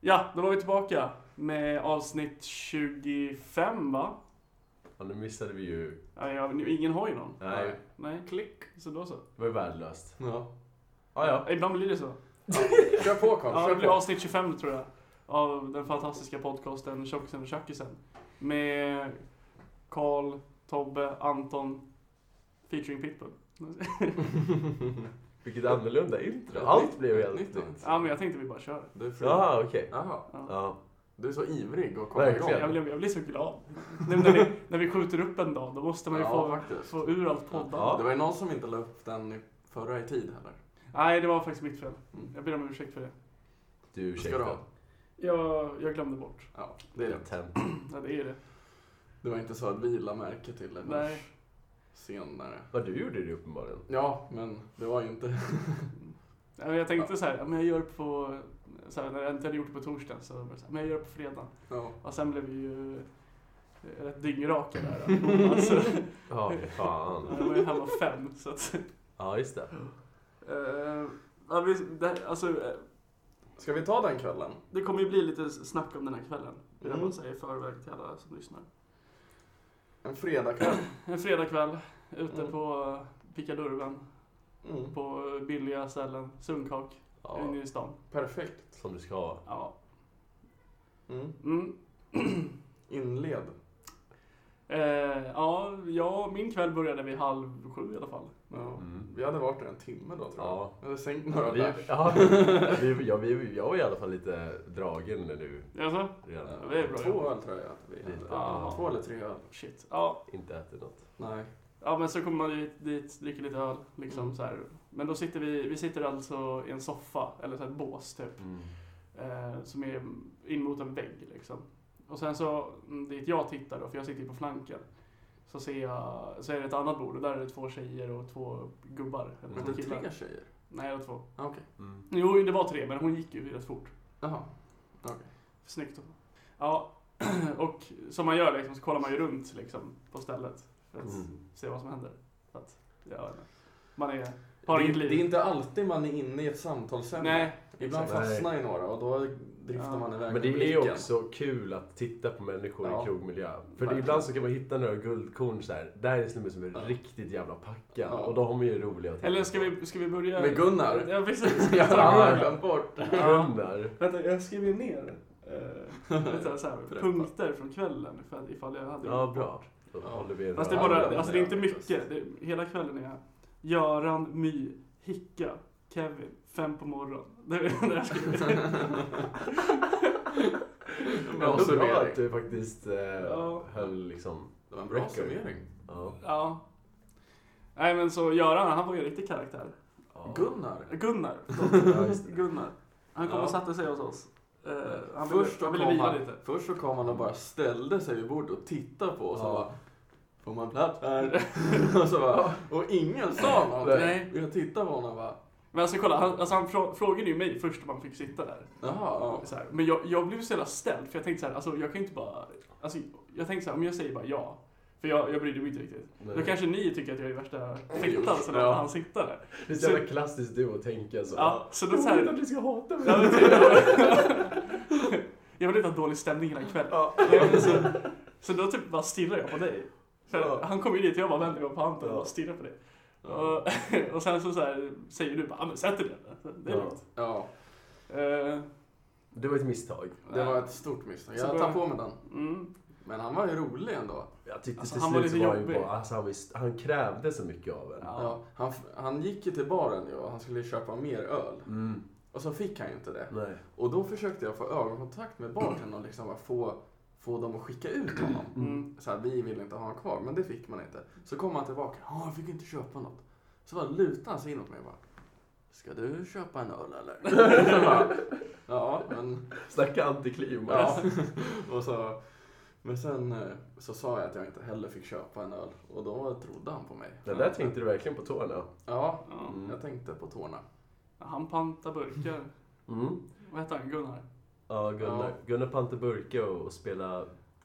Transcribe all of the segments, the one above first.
Ja, då var vi tillbaka med avsnitt 25 va? Ja, nu missade vi ju... Ja, jag, ingen har ju någon. Nej, Nej, klick. Så då så. det var ju värdelöst. Ja. Ah, ja, Ibland blir det så. Kör på Karl, Ja, det kör blir på. avsnitt 25 tror jag. Av den fantastiska podcasten Tjockisen och Tjackisen. Med Karl, Tobbe, Anton, featuring Pitbull. vilket annorlunda intro. Ett Allt nytt- blev ett helt nytt nytt. intro. Ja, men jag tänkte vi bara kör. Du är, fri. Jaha, okej. Jaha. Ja. du är så ivrig att komma igång. Verkligen. Jag blir, jag blir så glad. Nej, men när, vi, när vi skjuter upp en dag, då måste man ju Ja, få, faktiskt. få ur allt poddande. Ja. Det var ju någon som inte la upp den i förra i tid heller. Nej, det var faktiskt mitt fel. Mm. Jag ber om ursäkt för det. Du, Ska du ursäkta. ha? Jag, jag glömde bort. Ja, det är det. Temp. Ja, det är det. Det var inte så att vi la märke till det förrän Nej. senare. Vad du gjorde det uppenbarligen. Ja, men det var ju inte... Ja, men Jag tänkte så här, ja, men jag gör det på... Så här, när jag inte hade gjort det på torsdagen så var det så här, men jag gör det på fredagen. Ja. Och sen blev vi ju eh, rätt dyngraka där. allihopa, så, Ja, fy fan. jag var ju hemma fem. Så att, Ja, just det. eh, ja, vi, det, alltså, eh, Ska vi ta den kvällen? det kommer ju bli lite snack om den här kvällen. Vill jag Mm. bara säga i förväg till alla som lyssnar. En fredagkväll? En fredagkväll ute Mm. på Picadurven. Mm. På billiga ställen. Sunkak. Ja, Inne i stan. Perfekt. som du ska ha. Ja. Mm. Mm. Inled. Eh, ja, ja, min kväll började vid halv sju i alla fall. Ja. Mm. Vi hade varit där en timme då tror jag. Ja. Jag hade sänkt några Vi, bärs. ja, vi, ja, vi, jag var i alla fall lite dragen när du Alltså, redan det är bra. Två öl tror jag att vi Lite. hade. Ja. Två eller tre öl. shit. Ja. inte ätit något. Nej. ja, men så kommer man dit, dit dricker lite öl. Liksom, Mm. så här. Men då sitter vi, vi sitter alltså i en soffa, eller så här ett bås typ, Mm. eh, som är in mot en vägg. Liksom. Och sen så, mm, dit jag tittar då, för jag sitter ju på flanken, så ser jag, så är det ett annat bord och där är det två tjejer och två gubbar. Eller Men två det killar. tre tjejer? Nej, det var två. Ah, Okej. Mm. Jo, det var tre, men hon gick ju rätt fort. Jaha. Okej. Snyggt. Ja, och som man gör liksom, så kollar man ju runt liksom, på stället för att Mm. se vad som händer. Så att, ja, man är, har det, inget det är liv. inte alltid man är inne i ett samtalsämne. Nej, Ibland exakt. fastnar i några och då driftar Ja. man iväg Men det med är blicken. också kul att titta på människor Ja. i krogmiljö. För Verkligen. ibland så kan man hitta några guldkorn så här. Där är en snubbe som är Ja. riktigt jävla packad. Ja. Och de är ju roliga att titta Eller ska på. vi, ska vi börja? Med Gunnar. Ja, precis. Jag har Ja. glömt bort. Gunnar. Vänta, jag skriver ner eh, lite så här, Berätta. punkter från kvällen för att, ifall jag hade Ja, bra. Då Ja. håller vi en Fast det är röd. bara, alltså det är inte mycket. Det, hela kvällen är Göran, My, Hicka, Kevin, fem på morgonen. Det är det jag skriver. Bra Ändå bra summering. att du faktiskt eh, Ja. höll liksom... Det var en bra Record. summering. Ja. Ja. Nej men så Göran, han var ju en riktig karaktär. Ja. Gunnar. Gunnar. Ja, just det. Gunnar. Han kom Ja. och satte sig hos oss. Eh, han Först, ville, så han ville kom vila han, lite. först så kom han och bara ställde sig vid bordet och tittade på oss och Ja. bara Får man plats här? och, så bara, och ingen sa någonting. Nej. Jag tittade på honom och bara Men alltså kolla, han, alltså, han frå- frågade ju mig först om man fick sitta där. Jaha, Så här. Men jag, jag blev så jävla ställd för jag tänkte så här, alltså jag kan ju inte bara... Alltså, jag tänkte så här, om jag säger bara ja. För jag, jag brydde mig inte riktigt. Nej. Då kanske ni tycker att jag är värsta Mm. fittan som Ja. låter han sitta där. Det är så jävla klassiskt du att tänka så. Ja, så då så här- Jag vill att du ska hata mig. Ja, men typ. Jag vill inte ha dålig stämning hela kvällen. ja. Nej, men Så, så då typ bara stirrar jag på dig. För Ja. Han kom ju dit och jag bara vände mig om på Anton och Ja. bara stirrar på dig. ja. Och, och sen så, så här, säger du bara, "Ja, men sätt dig ner. Så Det är Ja. lugnt. ja, Eh, Det var ett misstag. det var ett stort misstag. Så Jag började- tar på mig den. mm, Men han var ju rolig ändå. Jag tyckte Alltså, till han slut var så lite var han ju jobbig. bara, alltså, han, visst, han krävde så mycket av en. ja. Ja, han, han gick ju till baren ju och han skulle köpa mer öl. Mm. Och så fick han ju inte det. Nej. Och då försökte jag få ögonkontakt med bartendern och liksom bara få, få dem att skicka ut honom. Mm. Så här, vi vill inte ha honom kvar, men det fick man inte. Så kom han tillbaka. Ja, jag fick inte köpa något. Så bara lutade han sig inåt mig och bara. Ska du köpa en öl eller? Så bara, ja, men... Snacka antiklimax. Ja. Och så, men sen eh, så sa jag att jag inte heller fick köpa en öl. Och då trodde han på mig. Det där tänkte du verkligen på tårna. Ja, Ja. jag tänkte på tårna. Han pantar burkar. Mm. Vad heter han? Gunnar? Ja, Gunnar, Ja. Gunnar pantar burkar och, och spelar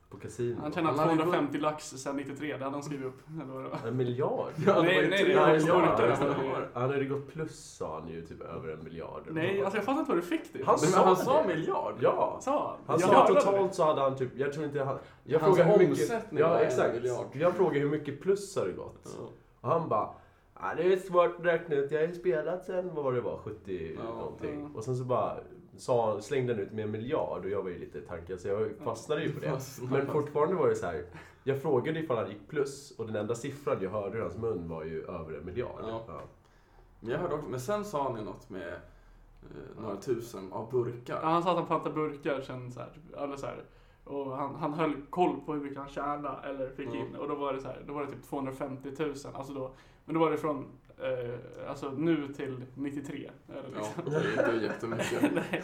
på kasino. Han tjänar Han hade ju 250 lax sen 93, det hade han skrivit upp. Eller vad det var. En miljard? Ja, det Nej, var ju nej, tre det var en miljarder. historiskt miljard. nästan. Han hade ju gått plus sa han ju, typ över en miljard. Nej, alltså jag fattar inte vad du fick det ifrån. Han Men sa han det. sa miljard. Ja! sa Han jag sa hörde det. totalt så hade han typ, jag tror inte han... Jag Hans frågade hur mycket... omsättning var Ja, en exakt. miljard. Jag frågade hur mycket plus har det gått? Och han bara, ah, det är svårt att räkna ut, jag har ju spelat sen, vad var det var, 70 Ja, någonting. ja. Och sen så bara sa, han- slängde han ut med en miljard och jag var ju lite tankad så jag fastnade ju på det. Mm. Men fortfarande var det så här, jag frågade ifall han gick plus och den enda siffran jag hörde ur hans mun var ju över en miljard. Ja. Ja. Men jag hörde också, men sen sa han ju något med eh, några tusen av burkar. Ja, han sa att han pantade burkar sen så här, typ, eller så här. Och han, han höll koll på hur mycket han tjänade eller fick Mm. in. Och då var det så här, då var det typ 250 000. Alltså då, men då var det från eh, alltså nu till 93. Eller Ja, liksom. det är inte jättemycket. Nej.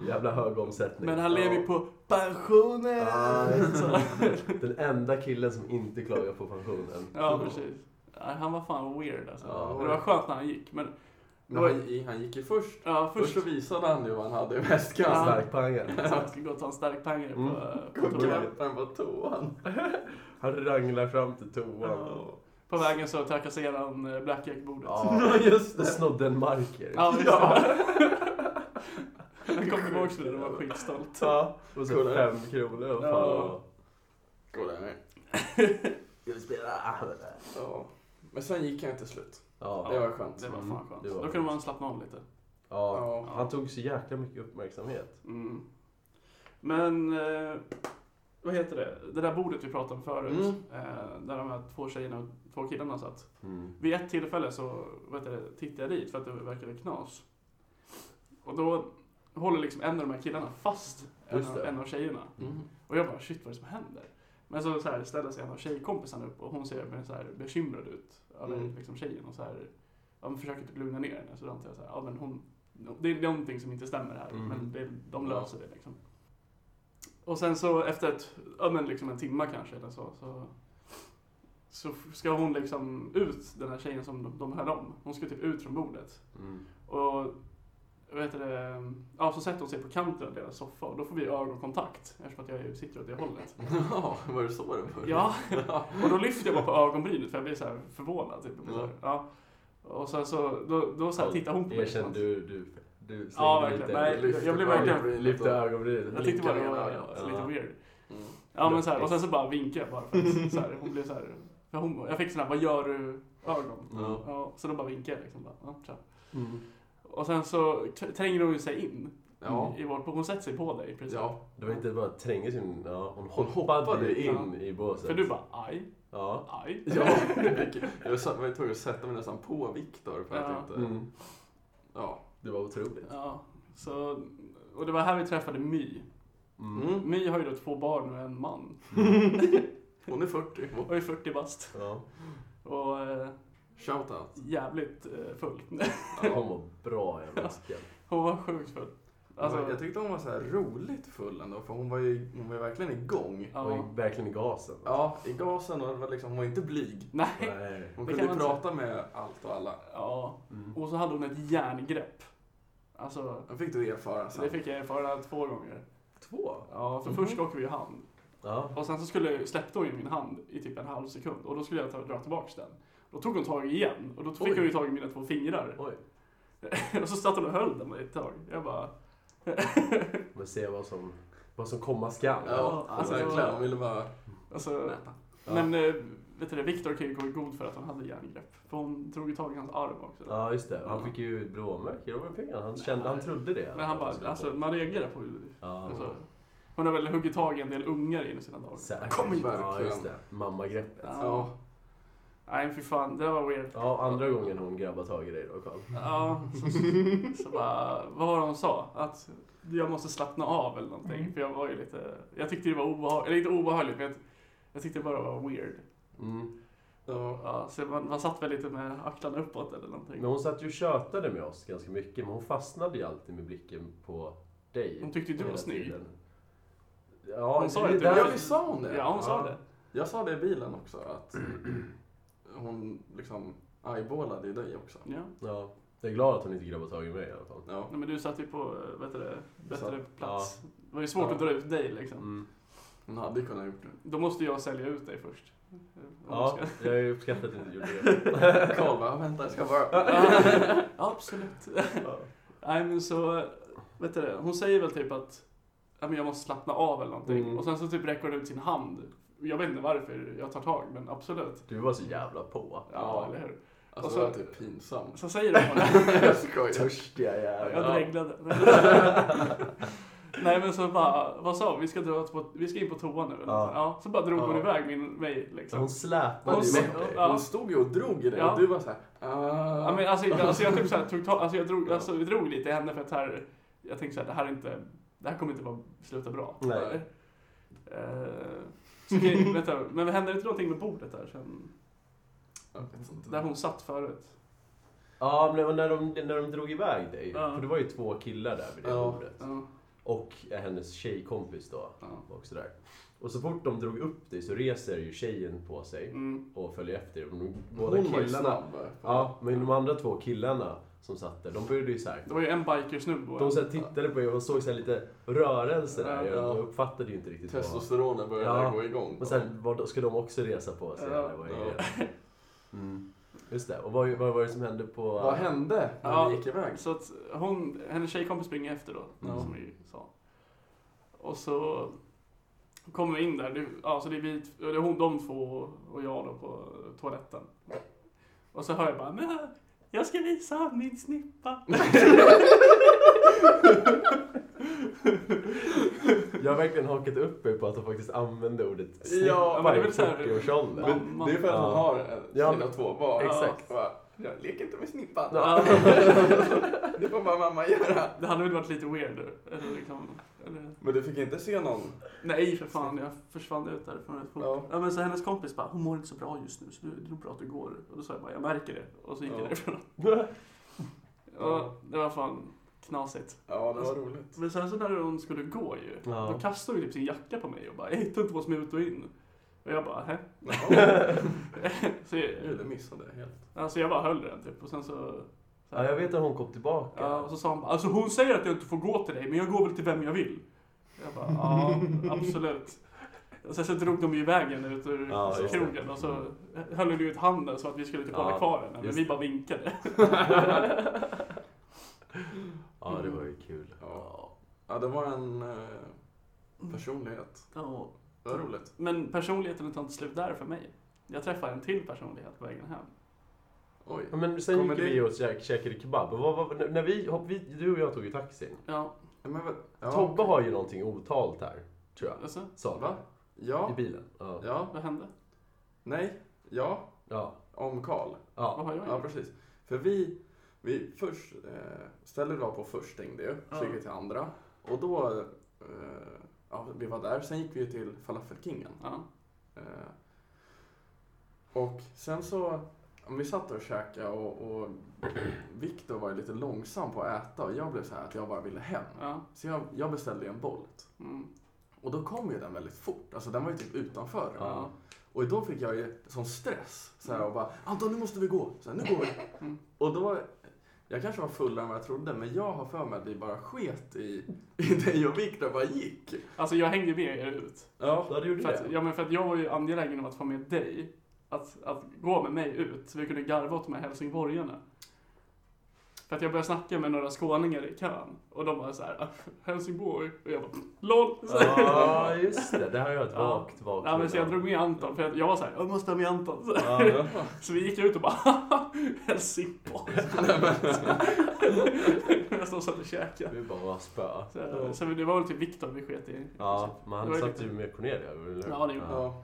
Jävla hög omsättning. men han lever ju på pensionen! Ah, just Så- det. den enda killen som inte klagar på pensionen. ja, precis. Nej, Han var fan weird alltså. Ja, men det var weird. skönt när han gick. Men Men han, han gick ju först. ja, Först först... så visade han ju vad han hade i väskan. Ja. Starkpangaren. Så han skulle gå och ta en starkpangare på, Mm. på toan. Koknappen på toan. Han ranglar fram till toan. Ja. På vägen så trakasserade han eh, blackjack-bordet. Ja, just och Snodde en marker. Ja, visst. Ja. Jag kommer ihåg så det, det var skitstolt. Ja, och så Kolla. fem kronor. Vad fan. Ja. Gå där ner. Ska vi spela? Ah, Ja. Men sen gick han ju till slut. Ja. Det var skönt. Det var fan skönt. Det var Då kunde skönt. man slappna av lite. ja. Ja. Han tog så jäkla mycket uppmärksamhet. Mm. Men, eh, vad heter det? Det där bordet vi pratade om förut, Mm. eh, där de här två tjejerna och två killarna satt. Mm. Vid ett tillfälle så vad heter det, tittade jag dit för att det verkade knas. Och då håller liksom en av de här killarna fast en Just av, det. en av tjejerna. Mm. Och jag bara, shit vad är det som händer? Men så, så här, ställer sig en av tjejkompisarna upp och hon ser väldigt så här, bekymrad ut över Mm. liksom, tjejen och så här, ja, men försöker typ lugna ner henne. Så då antar jag så här, ja, men hon, det är någonting som inte stämmer här, Mm. men det, de Ja. löser det liksom. Och sen så efter ett, ja, men liksom en timme kanske eller så, så, så ska hon liksom ut, den här tjejen som de, de hörde om. Hon ska typ ut från bordet. Mm. Och vad heter det? Ja, så sätter hon sig på kanten av deras soffa och då får vi ögonkontakt eftersom att jag ju sitter åt det hållet. Ja, var det så det började? Ja, och då lyfter jag bara på ögonbrynet för jag blir så här förvånad. Typ. Så här, ja. Och sen så, då, då så här tittar hon på mig. liksom. Erkänn, du, du, du Ja, slängde verkligen. Nej, lite- lyfte jag blev på verkligen... ögonbrynet. Lyfte Jag ögonbrynet. tyckte bara det blinkar var ner ögat. lite Ja. weird. Mm. Ja, men så här, och sen så bara vinkade jag bara för att så här, hon blev så här... För hon, jag fick sån här, vad gör du? Ögon. Ja. Ja, så då bara vinkade jag liksom. Bara, ja, tja. Mm. och sen så t- tränger hon ju sig in. Ja. I vårt, hon sätter sig på dig precis. Ja. Det var inte bara tränga sin... Ja, hon Hon hoppade, hoppade in i båset. För du bara, aj, Ja. aj. Ja, jag sa- var ju tvungen att sätta mig nästan på Viktor för Ja. att inte... Mm. Ja. Det var otroligt. Ja, så, och det var här vi träffade My. Mm. My har ju då två barn och en man. Hon är 40. Och är 40 bast. Ja. Och eh, Shoutout. jävligt eh, full. Ja, hon var bra jävla muskel. Hon var sjukt full. Alltså, jag tyckte hon var så här roligt full ändå, för hon var ju, hon var ju verkligen igång. Hon ja. gick verkligen i gasen. Ja, i gasen och det var liksom, hon var inte blyg. Nej. Nej. Hon Det kunde kan man prata med allt och alla. Ja. Mm. Och så hade hon ett järngrepp. Alltså, Det fick du erfara sen. det fick jag erfara två gånger. Två? Ja, för först åker vi ju hand. Ja. Och sen så skulle, släppte hon ju min hand i typ en halv sekund och då skulle jag ta, dra tillbaks den. Då tog hon tag igen och då fick Oj. hon ju tag i mina två fingrar. Oj. och så satt hon och höll dem ett tag. Jag bara... Men se vad som, vad som komma skall. Ja, alltså, verkligen. Hon ville bara... Alltså, Näpa. Ja. men eh, vet du det, Viktor kan ju gå i god för att hon hade järngrepp. För hon drog ju tag i hans arm också. Ja, just det. Han fick ju ett blåmärke över fingret. Han, kände, han trodde det. Men han bara, alltså man reagerar på Ja. alltså, Hon har väl huggit tag i en del ungar inom sina dagar. Säkert. Kom in. Ja, just det. Mammagreppet. Ja. Ja. Nej fy fan, det var weird. Ja, andra gången hon grabbar tag i dig då, Karl. Ja, så, så bara, vad var det hon sa? Att jag måste slappna av eller någonting. Mm. För jag var ju lite, jag tyckte det var obehagligt, eller inte obehagligt men jag, jag tyckte det bara var weird. Mm. Ja. Ja, så man, man satt väl lite med axlarna uppåt eller någonting. Men hon satt ju och tjötade med oss ganska mycket, men hon fastnade ju alltid med blicken på dig. Hon tyckte ju du hela var snygg. tiden. Ja, Hon sa det ju att du- där- Ja, visst sa hon det? Ja, hon sa Ja. det. Jag sa det i bilen också, att hon liksom eyeballade i dig också. Ja. Ja, jag är glad att hon inte grabbade tag i mig i alla fall. Ja. Nej, men du satt ju på eh, bättre, bättre Satt- plats. Det var ju svårt Ja. att dra ut dig liksom. Mm. Hon hade ju kunnat gjort det. Då måste jag sälja ut dig först. Om Ja, jag ska- jag har ju uppskattat att du inte gjorde det. Karl bara, vänta jag ska bara... Ja, Absolut. Nej men så, vet du det, hon säger väl typ att ja, men jag måste slappna av eller någonting. Mm. Och sen så typ räcker hon ut sin hand. Jag vet inte varför jag tar tag, men absolut. Du var så jävla på. Ja, eller hur? Alltså Och så- det var typ pinsamt. Så säger hon det. Jag skojar. Törstiga Jag jävlar. dreglade. Nej men så bara, vad sa hon? Vi ska, dra på, vi ska in på toa nu eller Ja. ja. ja, Så bara drog hon Ja. iväg min, mig liksom. Hon släpade Hon ju släpade- med dig. Ja. Hon stod ju och drog i dig Ja. och du var såhär... Ja, men Uh... alltså, alltså jag typ så här, tog tag, alltså jag drog, alltså, jag drog lite i henne för att här, jag tänkte så här, det här är inte, det här kommer inte bara sluta bra. Nej. Eh, så okej, vänta, men hände det inte någonting med bordet där sen? Där hon satt förut? Ja, men det var när de, när de drog iväg dig. Ja. För det var ju två killar där vid det Ja. bordet. Ja, Och hennes tjejkompis då ja. var också där. Och så fort de drog upp dig så reser ju tjejen på sig Mm. och följer efter. Men de, båda Hon var ju killarna. snabb. Ja, men de andra två killarna som satt där, de började ju så här. Det var ju en bikersnubbe och De en- så här tittade på er och såg så här lite rörelse där. Ja. Jag uppfattade ju inte riktigt vad... Testosteronen började Ja. gå igång. Och sen vad, ska de också resa på sig? Ja. eller vad är Ja. det? Mm. Just det. Och vad, vad var det som hände på... Vad hände när Ja. vi gick iväg? Så att hon, hennes tjejkompis springer efter då, Ja. som vi sa. Och så kommer vi in där, det, ja, så det är vi, det är hon, de två och jag då på toaletten. Och så hör jag bara, men jag ska visa honom min snippa. Jag har verkligen hakat upp mig på att de faktiskt använde ordet Ja, men det är snippa i väl så här- 40-årsåldern. Men- Men det är för att hon Ja. har en- Ja. sina två barn. Exakt. Och bara, Jag leker inte med snippan. Ja. det får bara mamma göra. Det hade väl varit lite weird. Eller liksom, eller, Men du fick inte se någon? nej för fan, jag försvann ut därifrån rätt fort. Ja. Ja. men så hennes kompis bara, hon mår inte så bra just nu så det det är nog bra att du går. Och då sa jag bara, jag märker det. Och så gick Ja. jag därifrån. Ja. Och det var fan knasigt. Ja, det var roligt. Men sen så när hon skulle gå ju, Ja. då kastade hon typ sin jacka på mig och bara jag hittar inte vad som är ut och in. Och jag bara hä? så Gud, det jag, missade jag helt. alltså jag bara höll den typ och sen så... så Ja, jag vet att hon kom tillbaka. Ja, och så sa hon bara, alltså hon säger att jag inte får gå till dig men jag går väl till vem jag vill. Jag bara ja, absolut. Och sen så drog de ju iväg henne ut ur Ja, just det. krogen och så höll hon ut handen så att vi skulle typ hålla Ja, kvar henne men just vi bara vinkade. Ja, det var ju kul. Ja. Ja, det var en eh, personlighet. Ja. Det var roligt. Men personligheten tar inte slut där för mig. Jag träffade en till personlighet på vägen hem. Oj. Ja, Men sen Kommer gick vi det- och käk, käkade kebab. Och vad, vad, när vi, hopp, vi, du och jag tog ju taxin. Ja, Men, vad- ja. Tobbe har ju någonting otalt här, tror jag. alltså, Sa Va? I Ja. bilen. Ja. Ja. Ja. vad hände? Nej. Ja. ja. Om Karl. Vad har jag Ja, gjort? precis. För vi, vi först, eh, stället vi var på först stängde ju, så Ja. gick vi till andra. Och då, eh, ja, vi var där. Sen gick vi ju till Falafelkingen. Ja. Eh, och sen så, ja, men vi satt där och käkade och, och Viktor var ju lite långsam på att äta och jag blev så här att jag bara ville hem. Ja. Så jag, jag beställde ju en Bolt. Mm. Och då kom ju den väldigt fort, alltså den var ju typ utanför. Ja. Och då fick jag ju sån stress. Så här, och bara, Anton nu måste vi gå. Så här, nu går vi. Mm. Och då, jag kanske var fullare än vad jag trodde, men jag har för mig att vi bara sket i, i dig och Viktor bara gick. Alltså jag hängde med er ut. Ja. Ja, du gjorde För det. att, ja, men för att jag var ju angelägen om att få med dig. Att, att gå med mig ut, så vi kunde garva åt de här helsingborgarna. För att jag började snacka med några skåningar i kön. Och de var så här, "Ah, Helsingborg. Och jag bara, LOL. Så, Ja, Ah, just det. Det har jag ett Ja. vagt, vagt ja, men så jag minne av. drog med Anton, för att jag var så här, jag måste ha med Anton. Så, Ja. så vi gick ut och bara, Helsingborg. Jag stod och satt och käkade. Vi bara var spö. Så, så det var väl typ Viktor vi sket i. Ja, men Det han var satt lite- ju med Cornelia, eller hur? Ja, det gjorde ja.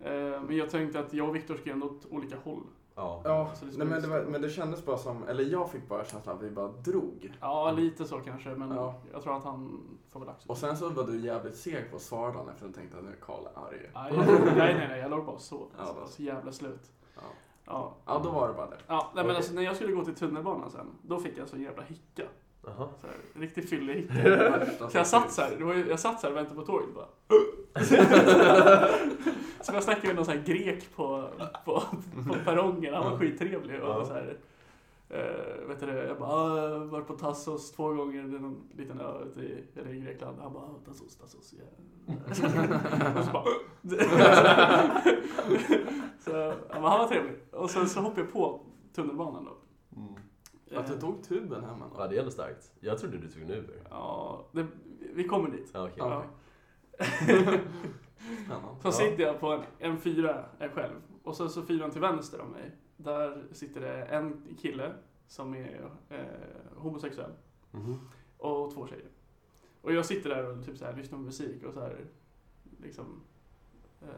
Ja. Eh, Men jag tänkte att jag och Viktor ska ändå åt olika håll. ja. ja. Så Alltså, det skulle Nej, men, det var, inte- men det kändes bara som, eller jag fick bara känslan att vi bara drog. Ja, lite så kanske, men Ja. jag tror att han får väl axla. Och sen så var du jävligt seg på att svara dagen efter och tänkte att nu är Karl arg. Nej, nej, nej, nej, jag låg bara och sov. Ja, Alltså, bra. så jävla slut. Ja. Ja. ja, då var det bara det. Ja, nej, men Okej. alltså, när jag skulle gå till tunnelbanan sen, då fick jag så jävla hicka. Jaha. Så här, riktig fyllehicka. Värsta Så jag som satt så här, det var ju, jag satt så här och väntade på tåget bara. så jag snackade med någon så här grek på, på, på perrongen, han var skittrevlig och Ja. så här. Eh, vet du det? Jag bara, "Ah, jag har varit på Tassos två gånger, det är någon liten ö ute i, eller i Grekland. Han bara, "Ah, Tassos, Tassos, yeah. och så bara, så, ja, men han var trevlig. Och sen så hoppade jag på tunnelbanan då. Mm. Att Eh. du tog tuben hem ändå. Ja, det är ändå starkt. Jag trodde du tog en Uber. Ja, det, vi kommer dit. Ja, okej. Ja. Spännande. Så Ja. sitter jag på en, en fyra eh, själv. Och sen så fyran till vänster om mig. Där sitter det en kille som är eh, homosexuell. Mhm. Och två tjejer. Och jag sitter där och typ så här, lyssnar på musik och så här, liksom, eh,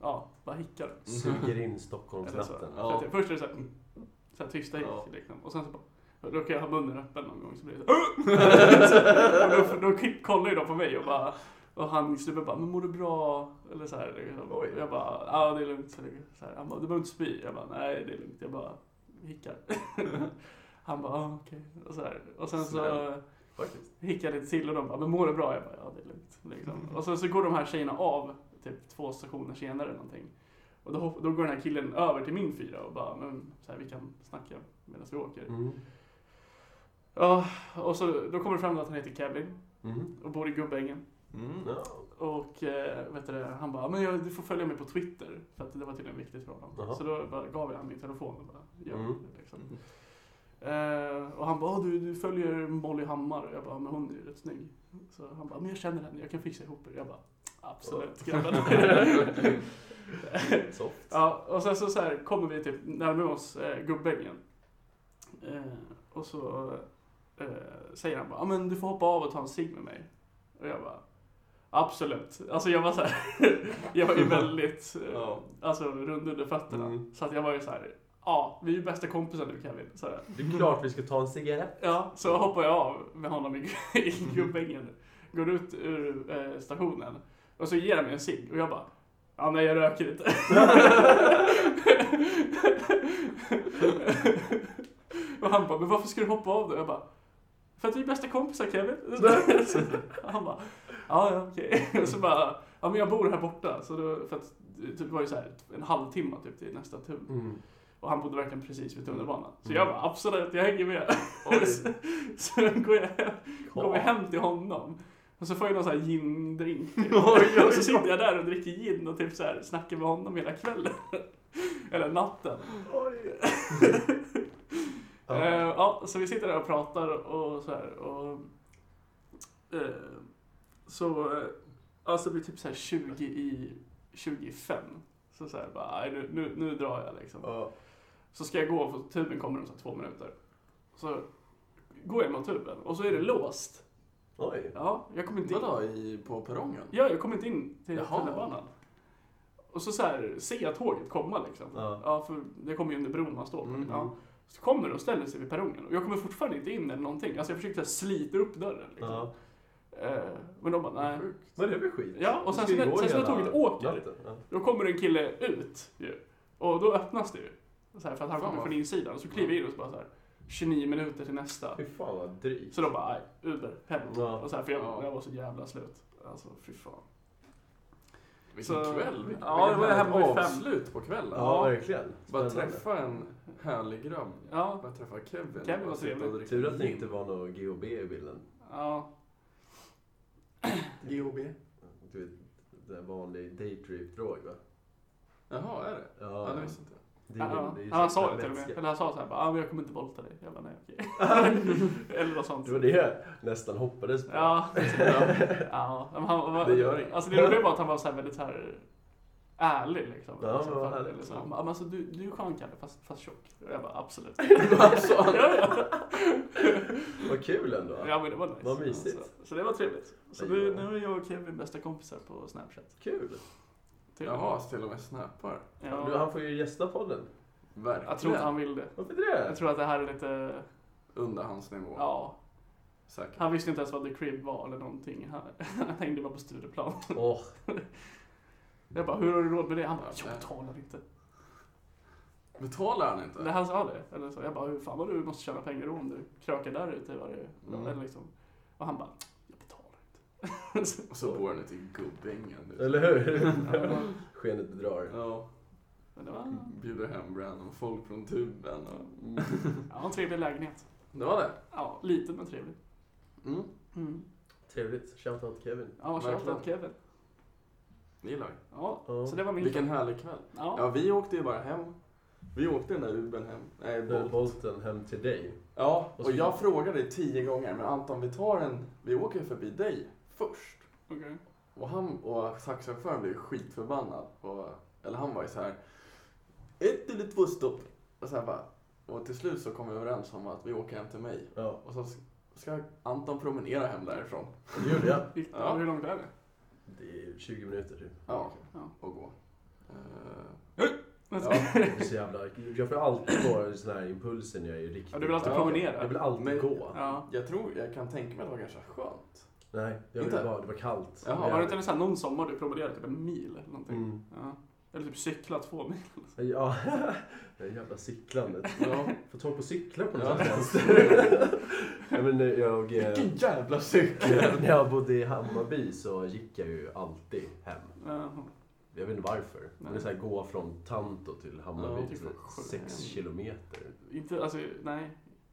ja, bara hickar. Suger in Eller så. Stockholmsnatten. För att jag, först är det så här, mm, så här tysta hick Ja. liksom. Och sen så bara, då kan jag ha munnen öppen någon gång så blir det så här, och då, då kollar ju de på mig och bara, och han snubben bara, men mår du bra? Eller så här, liksom. Oj. jag bara, ja det är lugnt. Så det- så här, han bara, du behöver inte spy. Jag bara, nej det är lugnt. Jag bara hickar. han bara, ah, okej. Och så här. Och sen så Snäll. Faktiskt. hickar lite till och de bara, men mår du bra? Jag bara, ja det är lugnt. Liksom. Och sen så går de här tjejerna av typ två stationer senare eller någonting. Och då, hop- då går den här killen över till min fyra och bara, men så här, vi kan snacka medan vi åker. Mm. Ja, och så då kommer det fram att han heter Kevin Mhm. och bor i Gubbängen. Mm. Mm-hmm. Ja. Och eh, vet du, det, han bara, men jag, du får följa mig på Twitter. För att det var tydligen viktigt för honom. Jaha. Så då bara, gav jag honom min telefon och bara, gör Mm. det liksom. Eh, och han bara, "Ah, du, du följer Molly Hammar. Och jag bara, men hon är ju rätt snygg. Så han bara, men jag känner henne, jag kan fixa ihop det. Jag bara, absolut grabbar. Soft. ja, och sen så, så här, kommer vi typ närmare oss eh, Gubbängen. Eh, och så eh, säger han bara, "Ja, men du får hoppa av och ta en cigg med mig. Och jag bara, absolut. Alltså jag var så här, jag var ju väldigt, eh, Ja. alltså rund under fötterna. Mm. Så att jag var ju så här, ja, vi är ju bästa kompisar nu Kevin. Så här, Det är klart vi ska ta en cigarett. Ja, så hoppar jag av med honom i, i gubbängen. Går ut ur eh, stationen. Och så ger han mig en cigg och jag bara Ja, nej jag röker inte. och han bara, men varför ska du hoppa av då? Jag bara, för att vi är bästa kompisar Kevin. han bara, ja ja okej. Och så bara, ja men jag bor här borta. Så då, för att typ, det var ju så här en halvtimme typ till nästa tur. Mm. Och han bodde verkligen precis vid tunnelbanan. Så Mm. jag bara, absolut jag hänger med. Oj. Så- Så går jag hem, går jag hem till honom. Och så får jag någon sån här gin-drink. typ. Och så sitter jag där och dricker gin och typ så här snackar med honom hela kvällen. Eller natten. Ja. Eh, ja, så vi sitter där och pratar och så här. Och, eh, så eh, alltså det blir typ så här 20 i 25. Så, så här bara, "Aj, nu, nu, nu drar jag liksom. Ja. Så ska jag gå, för tuben kommer om så här två minuter. Så går jag mot tuben och så är det låst. Oj. Ja, jag kommer inte in. Vadå, i, på perrongen? Ja, jag kom inte in till Jaha. tunnelbanan. Och så, så här, ser jag tåget komma liksom. Ja. för det kommer ju under bron man står på. Mm. Ja. Så kommer det och ställer sig vid perrongen. Och jag kommer fortfarande inte in eller någonting. Alltså jag försökte slita upp dörren liksom. Ja. Eh, men de bara, nej. Sjukt. Men det är väl skit? Ja, och sen Du ska så ju när- gå sen så när hela tåget åker. natten. Ja. Då kommer en kille ut ju. Och då öppnas det ju. Så här, för att han Fan, kommer vad- från insidan. Och så kliver jag in och så bara så här, 29 minuter till nästa. Fy fan vad drygt. Så de bara, nej, Uber, hem. Ja. Och så här, för Ja. jag, jag var så jävla slut. Alltså, fy fan. Vilken Så- kväll. Vilken, Ja, det var vilket hemma vid fem. avslut på kvällen. Ja, verkligen. Bara Spännande. träffa en härlig grabb. Ja, Bara träffa Kevin. Kevin var Bara sitta och trevlig. dricka Tur att det gin. inte var något GHB i bilden. ja. GHB. Du vet, det där vanlig daytrip-drog va? Jaha, är det? Ja, det visste inte jag. det är Ja, ingen- det är ju ja, han så sa här det till och med. vätska. Eller han sa så här, bara, ah, men jag kommer inte våldta dig. Jag bara, nej okej. Eller något sånt. Det var det jag nästan hoppades på. Ja, ja. men Han, var, Det gör inget. Alltså det roliga var att han var så här väldigt så här ärlig liksom. Ja, Alltså, men vad fan, härligt. eller så. Han bara, men alltså du, du är skön Kalle, fast, fast tjock. Och jag bara, absolut. Alltså, ja, Vad kul ändå. ja. ja, men det var nice. Vad mysigt. Så, så det var trevligt. Så Ja. nu, nu är jag och Kevin bästa kompisar på Snapchat. Kul. Till och med. Jaha, så till och med snappar. Du, Ja, han får ju gästa podden. Verkligen. jag tror inte han vill det. Varför det? Jag tror att det här är lite, Under hans nivå. ja, Säkert. Han visste inte ens vad The Crib var eller någonting. Han, han hängde bara på Stureplan. Åh, Jag bara, hur har du råd med det? Han bara, Ja, jag nej. betalar inte. Betalar han inte? När han sa det, eller så, jag bara, hur fan vad du måste tjäna pengar om du krökar där ute varje Mm. dag. Eller liksom. Och han bara, jag betalar inte. Och så bor han ute i Gubbängen. nu. eller hur? Ja, Skenet bedrar. Ja. Men det var, Bjuder hem random folk från tuben och... ja, en trevlig lägenhet. Det var det? Ja, liten men trevlig. Mm. Mm. Trevligt. Shoutout Kevin. Ja, Verkligen. shoutout Kevin. Det gillar vi. Ja, Ja. så det var min... Vilken härlig kväll. Ja, Ja, vi åkte ju bara hem. Vi åkte den där Ubern hem. Nej, Nu Bolt. Bolten hem till dig. Ja, Och och, så- jag frågade dig tio gånger, men Anton vi tar en, vi åker förbi dig först. okej. Och han och taxichauffören blev ju skitförbannad. Och, eller han var ju så här, ett eller två stopp. Och, så här bara, och till slut så kom vi överens om att vi åker hem till mig. Ja, Och så ska Anton promenera hem därifrån. det gjorde jag. Gick- Ja. Hur långt är det? Det är 20 minuter typ. Ja, Ja. och gå. Eh, Ja. Jag är så jävla... Jag får alltid få såna här impulser när jag är riktigt... Ja, du vill alltid Ja. promenera? Jag vill alltid Men- gå. Ja. jag tror, jag kan tänka mig att det var ganska skönt. Nej, jag Inte? ville bara... Det var kallt. Jaha, Var det inte så här någon sommar du promenerade typ en mil eller någonting? Mm. Ja. Eller typ cykla två mil. Ja, det här jävla cyklandet. Ja. Få tag på cyklar på något Ja. sätt helst. Nej, men jag... eh, Vilken jävla cykel! När jag bodde i Hammarby så gick jag ju alltid hem. Ja. Jag vet inte varför. Men det är så här, gå från Tanto till Ja, Hammarby, typ typ sju. 6 kilometer. Inte, alltså nej.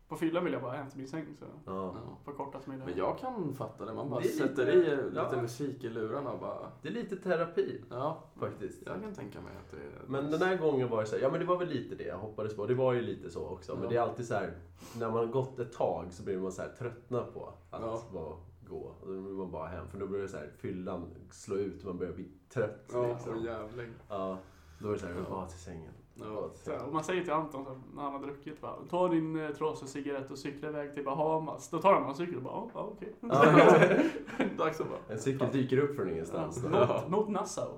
På fyllan vill jag bara hem till min säng så Ja. Ja. på kortast möjliga. Men jag kan fatta det. Man bara Det är lite- sätter i ja. lite musik i lurarna och bara... Det är lite terapi Ja, faktiskt. jag kan tänka mig att det är... Men den här gången var det så här, ja men det var väl lite det jag hoppades på. Det var ju lite så också. Men Ja. det är alltid så här, när man har gått ett tag så blir man så här tröttna på att Ja. bara gå. Och då vill man bara hem. För då börjar så här, fyllan slå ut och man börjar bli trött. Ja, liksom. och jävling. ja. Då är det så här, jag vill Ja. bara till sängen. Ja. Så här, om man säger till Anton så här, när han har druckit bara, ta din eh, trasiga cigarett och cykla iväg till Bahamas. Då tar han en cykel och bara, "Ja, ja okej. Ja. Dags att bara... En cykel dyker upp från ingenstans. Ja. då. Eh, Mot, mot Nassau.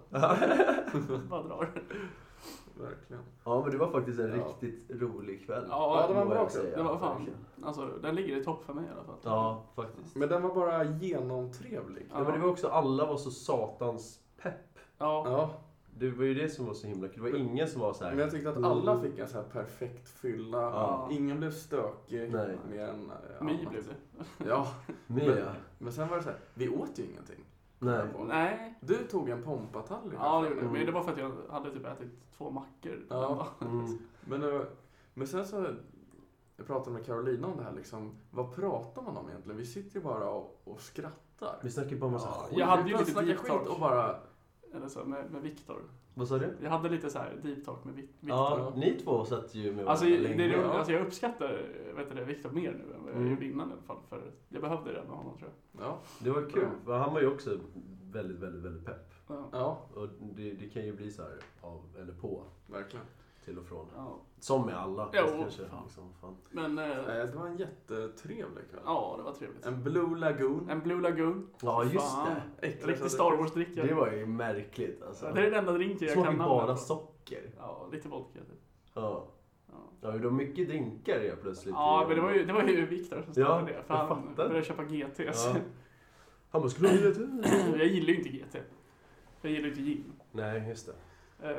bara drar. Verkligen. Ja, men det var faktiskt en Ja. riktigt rolig kväll. Ja, det var en må bra jag kväll. säga. Det var fan. Alltså den ligger i topp för mig i alla fall. Ja, faktiskt. Men den var bara genomtrevlig. Ja. Nej, men det var också, alla var så satans pepp. Ja. Ja, Det var ju det som var så himla kul. Det var ingen som var så här. men jag tyckte att alla fick en så här perfekt fylla. Mm. Ja. Ingen blev stökig. Nej. Mer än... eh, My annat. blev det. Ja, Mia. men sen var det så här, vi åt ju ingenting. Nej. Nej. Du tog en pompatallrik. Ja, det gjorde jag. Mm. Men det var för att jag hade typ ätit två mackor. Ja. den dagen. Mm. Men, eh, men sen så, jag pratade med Carolina om det här liksom, vad pratar man om egentligen? Vi sitter ju bara och, och skrattar. Vi snackade bara om massa Ja, skit. jag hade ju bara lite snackar deep skit talk. och bara, Eller så med, med Viktor. Vad sa du? Jag hade lite så här deep talk med Vik- Viktor. Ja, ni två satt ju med Alltså, varandra det är roligt, ja. alltså jag uppskattar vet du det, Viktor mer nu än vad jag Mm. gjorde innan i alla fall. För jag behövde det med honom tror ja, Det var kul. för Han var ju också väldigt, väldigt, väldigt pepp. jag. Ja. ja, Och det, det kan ju bli så här av eller på, verkligen. till och från. Ja. Som med alla. Jo, kanske. fan. Liksom, fan. Men eh, Eh, Det var en jättetrevlig kväll. ja, det var trevligt. En, En Blue Lagoon. Blue Lagoon. Ja, just Fan. det. Riktig Star Wars-dricka. Det Det, var ju märkligt alltså. är den enda drinken jag Smakar kan namnet bara på. socker. Ja, lite vodka typ. Ja. Ja. Ja, det var mycket drinkar helt plötsligt. Ja, men det var ju, det var ju Viktor som Ja, startade det. För jag han fattar. började köpa GT. Ja. Han bara, skulle du jag gillar ju inte GT. Jag gillar ju inte gin. Nej, just det. Eh,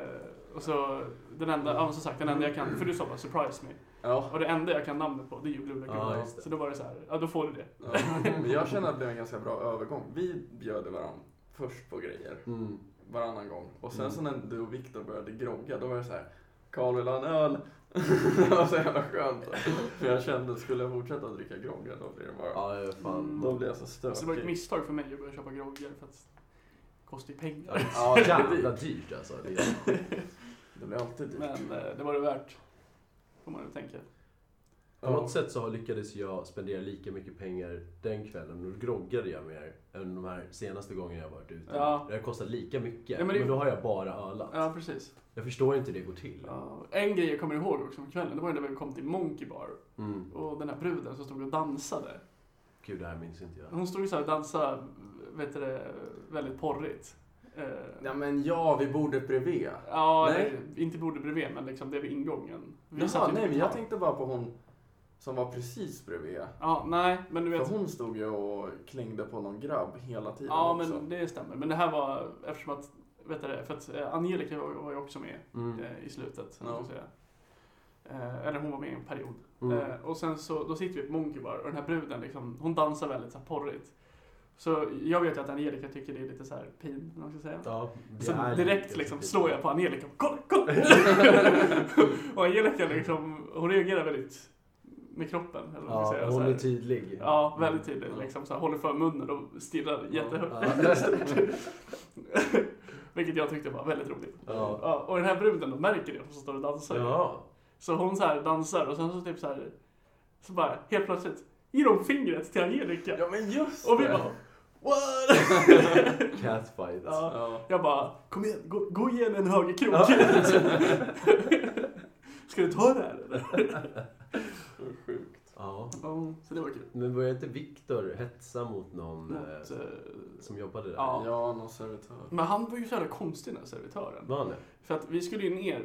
och så den enda, ja, men som sagt, den enda jag kan, för du sa bara 'surprise me' Ja. och det enda jag kan namnet på det är ju Blue Lagoon. Ja, just det. så då var det så här, ja då får du det. ja. Men jag känner att det blev en ganska bra övergång. Vi bjöd varandra först på grejer. Mm. varannan gång. Och sen Mm. så när du och Viktor började grogga, då var det så här. Karl vill ha en öl. det var så jävla skönt. För jag kände, skulle jag fortsätta att dricka grogga då blir det bara... Ja, det var fan. Mm. Då blir jag så Så det var ett stökig. misstag för mig att börja köpa groggar för att det kostar ju pengar. Ja, det är jävla dyrt alltså. Det är... Det blir alltid dyrt. Men eh, det var det värt. Får man ju tänka. På något Ja. sätt så har- lyckades jag spendera lika mycket pengar den kvällen och då groggade jag mer än de här senaste gångerna jag varit ute. Ja. Det har kostat lika mycket, Ja, men men, det- då har jag bara ölat. Ja, precis. Jag förstår inte hur det går till. Ja, en grej jag kommer ihåg också från kvällen, det var ju när vi kom till Monkey Bar Mm. och den här bruden som stod och dansade. Gud, det här minns inte jag. Hon stod ju så här och dansade, vet du det, väldigt porrigt. Eh, Ja men ja, vi borde bredvid. Ja, Nej. eller inte borde bredvid, men liksom det vid ingången. Vi satt Jaha, ju nej typ- men jag tänkte bara på hon som var precis bredvid. Ja, nej, men du För vet. hon stod ju och klängde på någon grabb hela tiden Ja, också. men det stämmer. Men det här var eftersom att, vet du det, för att eh, Angelica var, var ju också med Mm. eh, i slutet. Ja. Ja. Säga. Eh, eller hon var med i en period. Mm. Eh, och sen så, då sitter vi på Monkey Bar och den här bruden liksom, hon dansar väldigt så här porrigt. Så jag vet ju att Angelica tycker det är lite så här pin, eller vad man ska säga. Ja, det Så är direkt lite liksom så slår jag på Angelica. Kolla, kolla! och Angelica liksom, hon reagerar väldigt med kroppen. Eller vad man ska Ja, säga, så hon här. är tydlig. Ja, väldigt tydligt. Liksom, så här, håller för munnen och stirrar jättehögt. Ja. Vilket jag tyckte var väldigt roligt. Ja. Ja, och den här bruden då märker det, hon som står och dansar. Ja. Så hon så här dansar och sen så typ så här, så bara helt plötsligt ger hon fingret till Angelica. Ja men just och vi det! bara, Catfight. ja. Ja. Jag bara, kom igen, gå, gå igen en högerkrok. Ja. Ska du ta det här eller? Så sjukt. Ja. Ja, så det var kul. Men var inte Viktor hetsa mot någon eh, Mot, eh, som jobbade där? ja. Ja, någon servitör. men han var ju så jävla konstig den här servitören. Var han det? För att vi skulle ju ner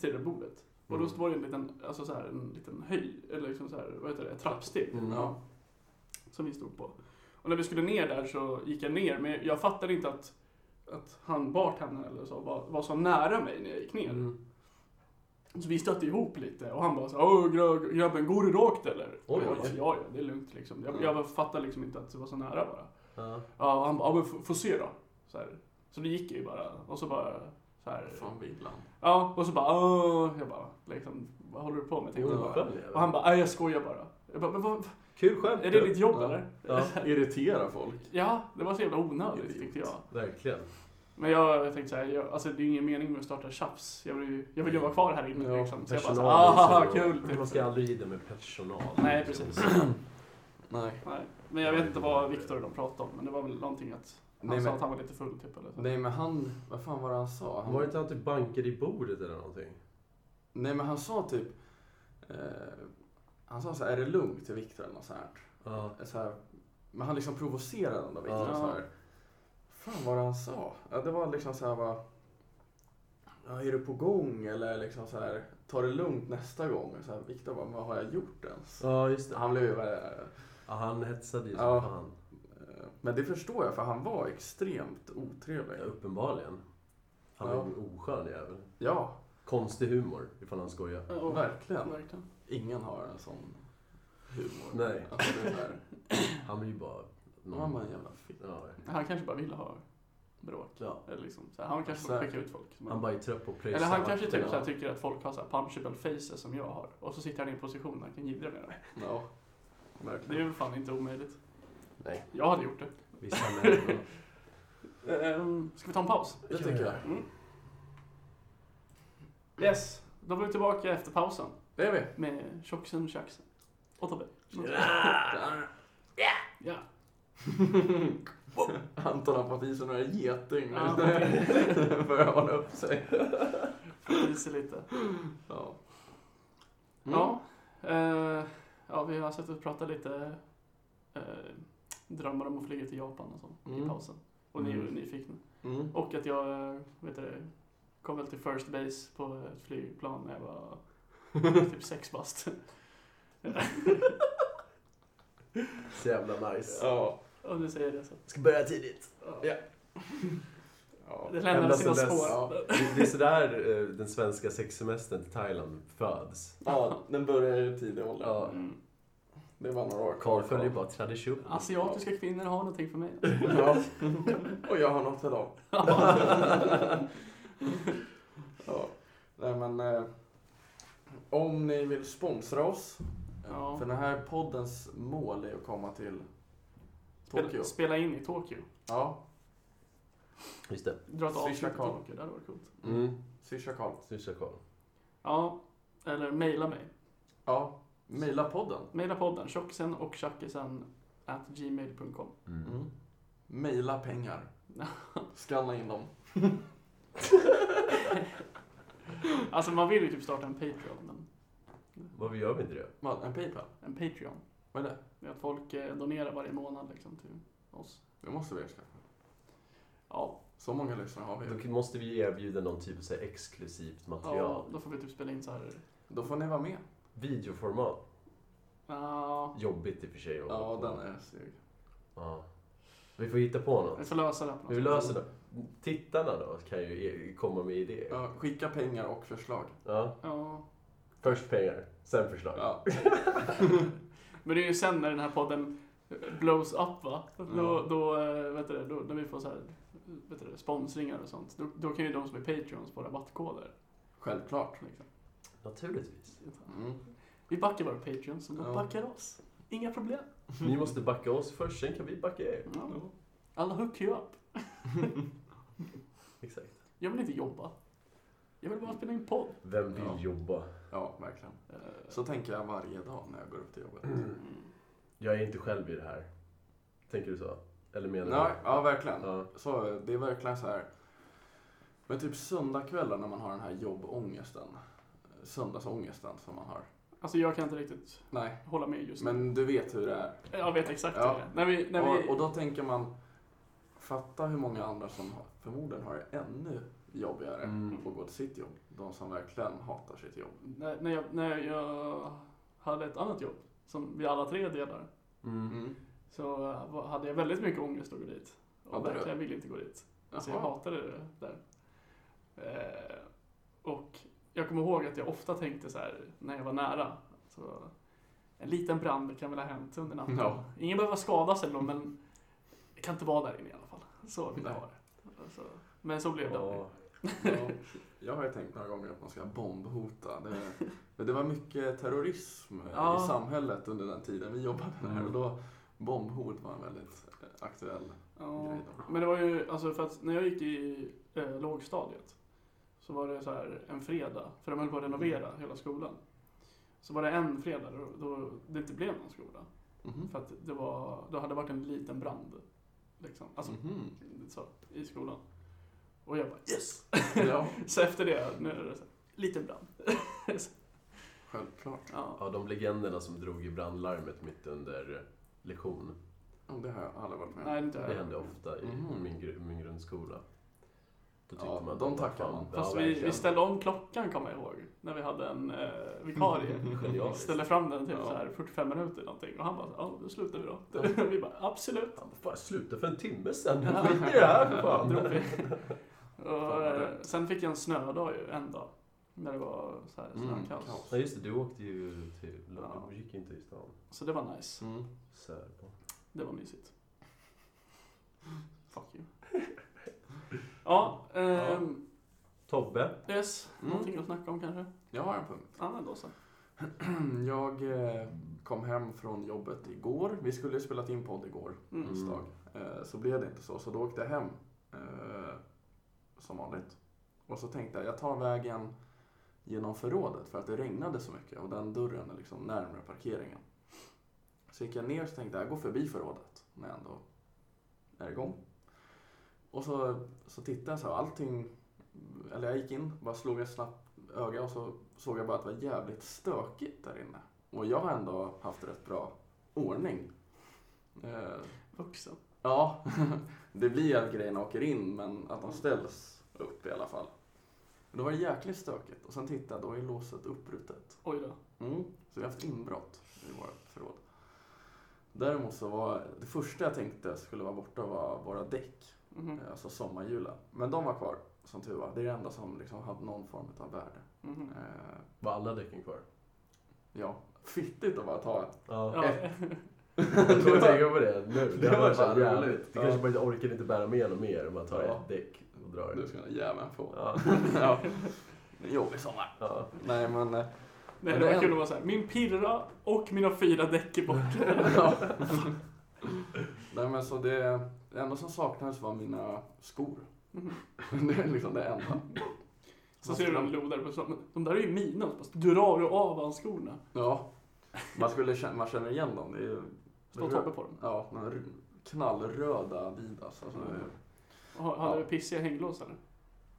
till det bordet. Och då Mm. var det en liten, alltså så här, en liten höj, eller liksom så här, vad heter det, ett trappsteg. Mm. Ja. som vi stod på. Och när vi skulle ner där så gick jag ner, men jag fattade inte att, att han, bartendern eller så, var, var så nära mig när jag gick ner. Mm. Så vi stötte ihop lite och han bara så här, Åh grö- grabben, går du rakt eller? och jag Oj. Mm. bara, ja, ja, det är lugnt liksom. Jag, jag fattade liksom inte att det var så nära bara. Ja. Ja, och han bara, ja men f- får se då. Så, här. så det gick jag ju bara. Och så bara, så här, Fan vill han? ja, och så bara, Åh. jag bara, liksom, vad håller du på med? Tänkte jag bara. Oskön, eller? Och han bara, nej jag skojar bara. Jag bara, men vad, Kul skämt. är det ditt jobb Ja. eller? Ja, Irritera folk. Ja, det var så jävla onödigt Idiot. tyckte jag. verkligen. Men jag tänkte såhär, jag, alltså det är ju ingen mening med att starta tjafs. Jag vill ju jag vill ju vara kvar här inne Ja, liksom. liksom. Så jag bara såhär, Personal ah är så- kul! Typ. Man ska aldrig rida med personal. Nej, precis. Nej. Nej. Men jag vet inte vad Viktor och de pratade om, men det var väl någonting att han Nej, sa men- att han var lite full typ eller så. Nej men han, vad fan var det han sa? Han, Var det inte han typ bankade i bordet eller någonting? Nej men han sa typ, eh, han sa så här, är det lugnt till Viktor eller något sånt här. Ja. så här, men han liksom provocerade honom då, Victor. Ja. Så här. Fan vad han sa. Ja, det var liksom så här bara, ja, är du på gång eller liksom så här, ta det lugnt nästa gång. Så här, Victor bara, vad har jag gjort ens? Ja, just det. Han blev ju värre. Ja, han hetsade ju som Ja. fan. Eh, Men det förstår jag för han var extremt otrevlig. Ja, Eh, uppenbarligen. Han Ja. är en oskön jävel. Ja, Konstig humor, ifall han skojar. Ja, och- verkligen. verkligen. Ingen har en sån humor. Nej. Alltså, det är så här, Han blir ju bara... någon- man var en jävla fitt. Ja. Han kanske bara ville ha bråk. Ja. Eller liksom, så här, han kanske bara Säkert. skickar ut folk. som Han bara är trött på att pröjsa eller han kanske vakterna. typ så här, ja. tycker att folk har så här punchable faces som jag har. Och så sitter han i en position där han kan jiddra med dem. Ja, Det är verkligen. väl fan inte omöjligt. Nej. Jag hade gjort det. Vissa män. Ehm, ska vi ta en paus? Det tycker jag. Mm. Yes, då var vi tillbaka efter pausen Det är vi. med Tjocksen Tjacksen och Tobbe. Ja. Anton har fått i sig några getingar Ja. för att hålla upp sig. Får i sig lite. Ja. Mm. Ja. eh, ja, vi har suttit och pratat lite eh, drömmar om att flyga till Japan och sånt i Mm. pausen. Och ni är ju Mm. nyfikna. Mm. Och att jag eh, vet du, kom väl till first base på ett flygplan när jag var typ sex bast. Så jävla nice. Ja. Om du säger det så. Ska börja tidigt. Ja. Ja. Det lämnar Ända sina sedan dess. spår. Ja. Det det är sådär eh, den svenska sexsemestern till Thailand föds. ja, den börjar i tidig ålder. Ja. Mm. Det var några år Karl följer bara tradition. Asiatiska kvinnor har någonting för mig. Ja. Och jag har något för dem. ja. Nej, men, eh, om ni vill sponsra oss. eh, Ja. För den här poddens mål är att komma till Tokyo. Spela, spela in i Tokyo. Ja, Just det. Dra ett Swisha avsnitt i Karl. Tokyo, det hade varit coolt. Mm. swisha Karl. Swisha Karl. Ja, eller mejla mig. Ja, mejla podden. Mejla podden tjockisen och tjackisen at gmail.com. Mm. Mm. Mejla pengar. Skanna in dem. Alltså man vill ju typ starta en Patreon. Men Varför gör vi inte det? Vad, en Paypal? en Patreon. Vad är det? Det är att folk eh, donerar varje månad liksom till oss. Det måste vi erskaffa. Ja, Så många lyssnare har vi. Då måste vi erbjuda någon typ av så här exklusivt material. ja, då får vi typ spela in så här. Då får ni vara med. Videoformat. Ja, Jobbigt i och för sig. att Ja, hålla på. den är seg. Ja. Vi får hitta på vi något. får lösa det här på Vi något löser det. Tittarna då kan ju e- komma med idéer. Ja, skicka pengar och förslag. Ja. Ja. Först pengar, sen förslag. Ja. Men det är ju sen när den här podden blows up va? Då, Ja. då eh, på så här, vet du, det, sponsringar och sånt, då, då kan ju de som är patreons få rabattkoder. Självklart. Liksom. Naturligtvis. Mm. Vi backar våra patreons och de Ja. backar oss. Inga problem. Ni måste backa oss först, sen kan vi backa er. Ja. Alla hook you up. Exakt. Jag vill inte jobba. Jag vill bara spela in podd. Vem vill Ja. jobba? Ja, verkligen. Eh, Så tänker jag varje dag när jag går upp till jobbet. mm. Jag är inte själv i det här. Tänker du så? Eller menar Nej, du? ja, verkligen. Ja. Så eh, det är verkligen så här. Men typ söndagkvällar när man har den här jobbångesten. eh, Söndagsångesten som man har. Alltså jag kan inte riktigt Nej, hålla med just nu. men du vet hur det är. Jag vet exakt Ja. hur det är. När vi, när vi... Och, och då tänker man, fatta hur många andra som har- förmodligen har det ännu jobbigare Mm. att gå till sitt jobb. De som verkligen hatar sitt jobb. När, när, jag, när jag hade ett annat jobb, som vi alla tre delar, Mm. Mm. så eh, var- hade jag väldigt mycket ångest att gå dit. Och Hade du? verkligen ville inte gå dit. Så jag Jaha. hatade det där. Eh, och jag kommer ihåg att jag ofta tänkte så här, när jag var nära, så, en liten brand kan väl ha hänt under natten. Ja. Ingen behöver skadas eller något, men jag kan inte vara där inne i alla fall. Så vill jag Nej. ha det. Alltså, men så blev det aldrig. Ja. Ja, jag har ju tänkt några gånger att man ska bombhota. Det, men det var mycket terrorism Ja. i samhället under den tiden vi jobbade där Mm. och då bombhot var en väldigt eh, aktuell Ja, grej då. men det var ju, alltså för att när jag gick i eh, lågstadiet så var det så här en fredag, för de höll på att renovera Mm. hela skolan. Så var det en fredag då, då det inte blev någon skola. Mm. Mhm. För att det var, då hade det varit en liten brand. Liksom. Alltså, Mhm. Mm-hmm. så, i skolan. Och jag bara yes! Ja, Så efter det, nu är det så här, liten brand. självklart. Ja. ja, de legenderna som drog i brandlarmet mitt under lektion. Ja, Det har jag aldrig varit med om. Nej, inte Det jag. hände ofta i Mhm. min, gr- min grundskola. Då tyckte Ja, man att de det var tackar fan- man. Ja, Fast vi, vi verkligen. ställde om klockan kommer jag ihåg, när vi hade en eh, vikarie. Genialiskt. ställde fram den till Ja. så här 45 minuter någonting och han bara ja då slutar vi då. Ja. vi bara absolut. Fan, fan, sluta för en timme sen. Ja. Skit i det här för fan. Drog vi. vad och, eh, rätt. sen fick jag en snödag ju en dag. När det var så här Mm, snökaos. kaos. Ja, just det. Du åkte ju till... Ja. Du gick inte i stan. så det var nice. Mm. Sörbo. Det var mysigt. Fuck you. ja, ehm, Tobbe. yes. Mm. Någonting att snacka om kanske? Jag har en punkt. Ja, men då så. Jag eh, kom hem från jobbet igår. Vi skulle ju spelat in podd igår, Mm. onsdag. Eh, Så blev det inte så, så då åkte jag hem. eh, Som vanligt. Och så tänkte jag, jag tar vägen genom förrådet för att det regnade så mycket och den dörren är liksom närmare parkeringen. Så gick jag ner och tänkte, jag går förbi förrådet när jag ändå är igång. Och så, så tittade jag så här, allting, eller jag gick in, bara slog ett snabbt öga och så såg jag bara att det var jävligt stökigt där inne. Och jag har ändå haft rätt bra ordning. Eh, Vuxen. Ja, det blir att grejerna åker in men att de ställs upp i alla fall. Men Då var det jäkligt stökigt och sen tittade jag, då är låset upprutet. Oj då. Mm. Så vi har haft inbrott i vårt förråd. Däremot så var det första jag tänkte skulle vara borta var våra däck, Mhm. eh, alltså sommarhjulen. Men de var kvar som tur var. Det är det enda som liksom hade någon form av värde. Mhm. Eh, Var alla däcken kvar? Ja, fittigt att bara ta ett. Ja. Ja. Jag kommer tänka på det nu. Det var fan så jävligt. roligt. Det Ja. kanske bara inte orkar inte bära med något mer. Man tar Ja. ett däck och drar. Du ska den jäveln få. Ja. ja. Jobbig sommar. Ja. Nej men eh, Nej, Men det det var är- kul att vara såhär, min pirra och mina fyra däck är borta. Ja. Nej men så det, det enda som saknades var mina skor. Mhm. Det är liksom det enda. Så ser du dem lodar på stan. Men De där är ju mina. Och så bara drar du av hans skorna. Ja. Man, skulle, kä- man känner igen dem. Det är ju... Står Tobbe på dem. Ja, de här r- knallröda Adidas. Alltså, det Mm. är- Ha- Hade Ja. du pissiga hänglås eller?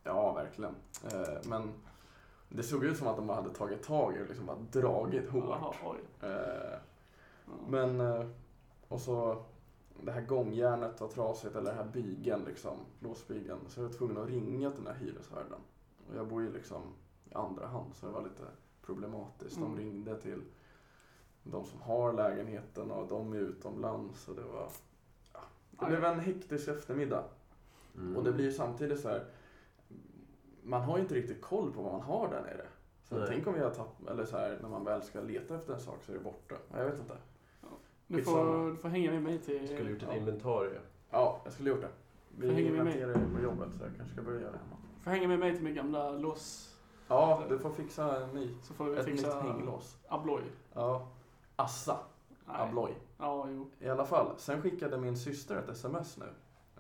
ja, verkligen. Eh, men det såg ut som att de hade tagit tag i och liksom bara dragit Jaha, hårt. oj. Eh, Ja. Men, eh, och så det här gångjärnet var trasigt, eller den här bygeln liksom, låsbygeln. Så jag var tvungen att ringa till den här hyresvärden. Och jag bor ju liksom i andra hand, så det var lite problematiskt. De Mm. ringde till de som har lägenheten och de är utomlands. Och det var... Ja. Det Aj. blev en hektisk eftermiddag. Mm. Och det blir ju samtidigt så här. Man har ju inte riktigt koll på vad man har där nere. Så Nej. tänk om vi har tappat, eller så här, när man väl ska leta efter en sak så är det borta. Jag vet inte. Du får, Skitsamma. du får hänga med mig till... Skulle gjort ett Ja. inventarie. Ja, jag skulle gjort det. Jag Vi hänger med mig. inventerar ju på jobbet så jag kanske ska börja göra det hemma. Får hänga med mig till min gamla lås. Ja, du får fixa en ny. Så får vi Ett nytt fixa hänglås. Abloy. Ja. Assa. Nej. Abloy. Ja, jo. I alla fall, sen skickade min syster ett sms nu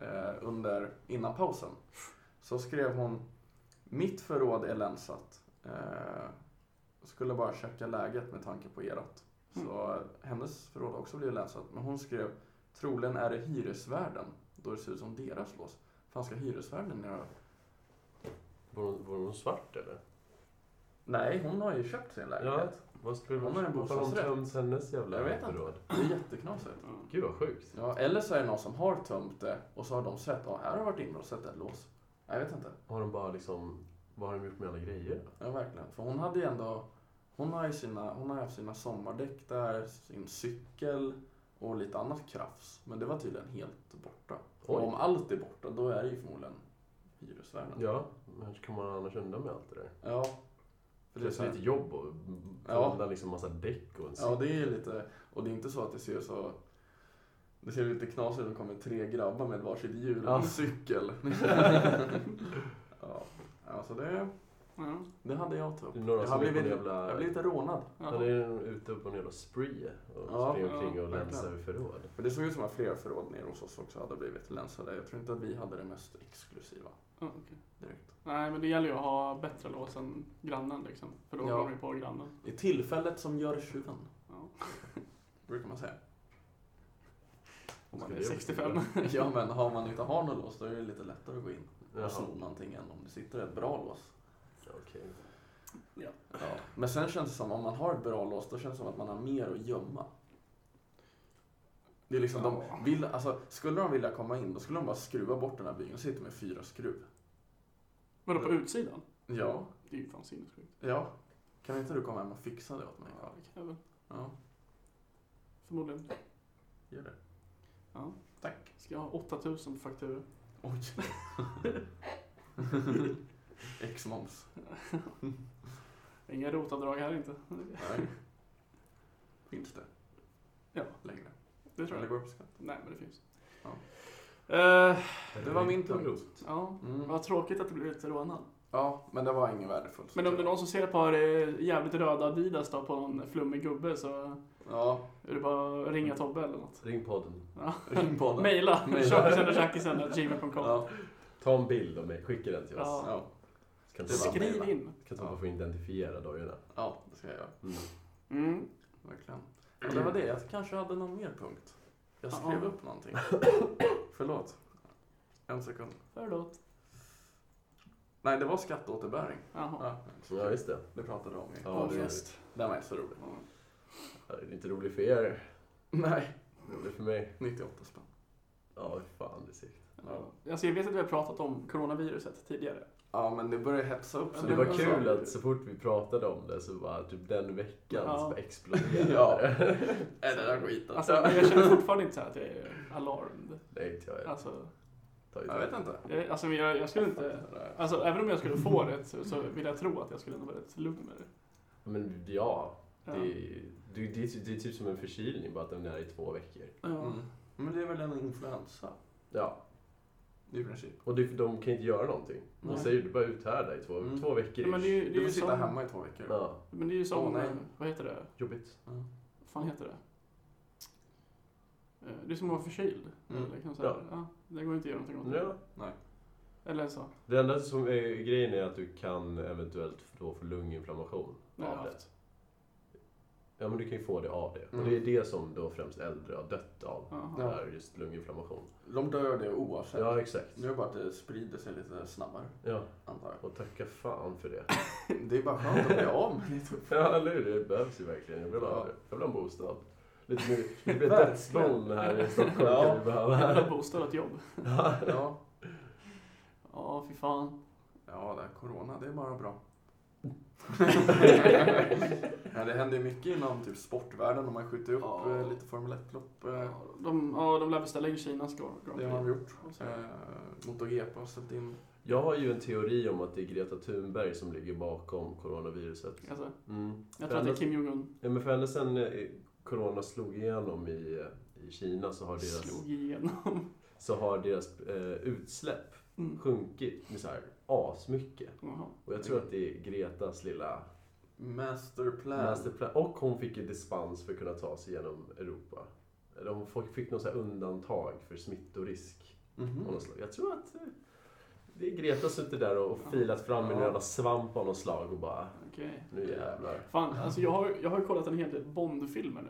eh, under, innan pausen. Så skrev hon Mitt förråd är länsat. Eh, skulle bara checka läget med tanke på erat. Mm. Så eh, hennes förråd har också blivit länsat. Men hon skrev Troligen är det hyresvärden då det ser ut som deras lås. Fan ska hyresvärden göra? Var hon, var hon svart eller? Nej, hon har ju köpt sin lägenhet. Vad skulle Hon har en Varför har hon bostadsrätt. tömt hennes jävla Jag vet inte. förråd? Det är jätteknasigt. Mm. Gud vad sjukt. Ja, eller så är det någon som har tömt det och så har de sett, ja här har varit inbrott, sett ett lås. Jag vet inte. Har de bara liksom, vad har de gjort med alla grejer? Ja, verkligen. För hon hade ju ändå... Hon har ju sina, hon har haft sina sommardäck där, sin cykel och lite annat krafs. Men det var tydligen helt borta. Och om Oj. allt är borta, då är det ju förmodligen hyresvärden. Ja, men hur kommer man annars undan med allt det där? Ja. För För det är det så är här, lite jobb och Ja. ja. undan liksom massa däck och en ja, det är ju lite... Och det är inte så att det ser så... Det ser lite knasigt ut. Det kommer tre grabbar med varsitt hjul och Ja. en cykel. ja. Alltså det, Ja. det hade jag typ. Det är några Jag som har är på en blivit, jävla... jag har blivit rånad. Han Ja. är ute på en jävla spree och Ja, springer omkring ja, och verkligen. länsar i förråd. Men det såg ut som att flera förråd nere hos oss också hade blivit länsade. Jag tror inte att vi hade det mest exklusiva Ja, okej. direkt. Nej, men det gäller ju att ha bättre lås än grannen liksom. För då Ja. kommer vi på grannen. Det är tillfället som gör tjuven, Ja. brukar man säga. Om Ska man är det 65. Ja, men har man inte har något lås då är det lite lättare att gå in Jaha. och sno någonting än om det sitter ett bra lås. Okej. Ja. Men sen känns det som om man har ett bra lås, då känns det som att man har mer att gömma. Det är liksom, Ja. de vill, alltså, skulle de vilja komma in, då skulle de bara skruva bort den här bygeln och sitter med fyra skruv. Vadå, på utsidan? Ja, Det är ju fan sinnessjukt. ja. Kan inte du komma hem och fixa det åt mig? Ja, det kan jag väl. Ja, Förmodligen. gör det. Ja. Tack. Ska jag ha 8000 fakturor? Oj. Ex-moms. Inga rotavdrag här inte. Nej. Finns det? Ja. Längre. Det tror Eller jag. går det på skatt? Nej, men det finns. Ja. Eh, Det var min Riktigt punkt. grovt. ja. Mm. Vad tråkigt att du blev lite rånad. Ja, men det var inget värdefullt. Men om det är någon som ser ett par eh, jävligt röda Adidas då på någon flummig gubbe så Ja, är det bara att ringa Mm. Tobbe eller något. Ring podden. Ja. ring podden. Mejla Mejla. tjockisen.tjackisen.gmail.com Ja, Ta en bild och mig- skicka den till oss. Ja. ja. Kan Det var- Tobbe Skriv mejla. in. kan Tobbe få identifiera dojorna. ja, det ska jag göra. Mm. Mm. Verkligen. Ja, det var det. Jag kanske hade någon mer punkt. Jag skrev Ja. upp någonting. Förlåt. En sekund. Förlåt. Nej, det var skatteåterbäring. Jaha. Ja, Ja, just det. det pratade du om ju. Ja, det, är, Ångest. Den var inte så rolig. Ja. ja, det är inte roligt för er. Nej, Roligt för mig. 98 spänn. Ja, fan det är sikt. Ja. Alltså jag vet att vi har pratat om coronaviruset tidigare. Ja, men det börjar hetsa upp Ja, sig. Det var Ja. kul att så fort vi pratade om det så bara typ den veckan Ja. så bara exploderade Ja. det. Är det där skiten? Alltså, men jag känner fortfarande inte så här att jag är alarmed. Nej, inte jag. Alltså, Ta jag vet inte. jag, alltså, jag, jag skulle inte... Alltså, äh- även om jag skulle få det så, så vill jag tro att jag skulle ändå vara rätt lugn med det. Men ja, Ja. Det, är- det, det, är typ- det är typ som en förkylning, bara att den är i två veckor. Ja. Mm. Men det är väl en influensa Ja, i princip. och det, de kan inte göra någonting. De Nej. säger du bara uthärda i två, Mm. två veckor. Ja, men det är ju- Du får ju sitta som- hemma i två veckor. ja, Men det är ju som... Åh, nej. vad heter det? jobbigt. Vad fan heter det? Eh, Det är som att vara förkyld. Mm. Eller kan man säga. Ja. Ja. det går inte att göra någonting åt. Ja. Eller så. Det enda som är grejen är att du kan eventuellt då få lunginflammation Det har jag av det. haft. Ja, men du kan ju få det av det. Mm. Och det är det som då främst äldre har dött av. Jaha. Det här just lunginflammation. De dör det oavsett. Ja, exakt. Nu är det bara att det sprider sig lite snabbare, Ja, antar jag. och tacka fan för det. Det är bara skönt att bli av med lite. Ja, eller hur? Det behövs ju verkligen. Jag vill ha, Ja. jag vill ha en bostad. Lite mer, det blir Verkligen. dödsbon här i Stockholm Ja. kan vi behöva. Jag vill ha bostad och ett jobb. Ja. Ja, fy fan. ja, det här corona, det är bara bra. ja, det händer ju mycket inom typ sportvärlden. De har skjutit upp Ja. eh, lite Formel 1-lopp. eh, Ja, De, ja, de lär beställa in Kinas Grand Prix. Det har de gjort. Och så- Eh, MotoGP har ställt in. Jag har ju en teori om att det är Greta Thunberg som ligger bakom coronaviruset. Alltså, Mm. jag tror att det är Kim Jong-Un Ja, men för ända sedan eh, corona slog igenom i, i eh, Kina så har deras... slog igenom. så har deras eh, utsläpp Mm. sjunkit med så här asmycket. Jaha. Och jag tror att det är Gretas lilla Masterplan. masterplan. Och hon fick ju dispens för att kunna ta sig genom Europa. Eller hon fick- fick något så här undantag för smittorisk. Mm. Mhm. av något slag. Jag tror att eh, det är Greta som sitter där och och filat fram i en Ja. jävla svamp av något slag och bara Okej. nu jävlar. Fan, alltså jag har, jag har kollat en hel del Bond-filmer nu.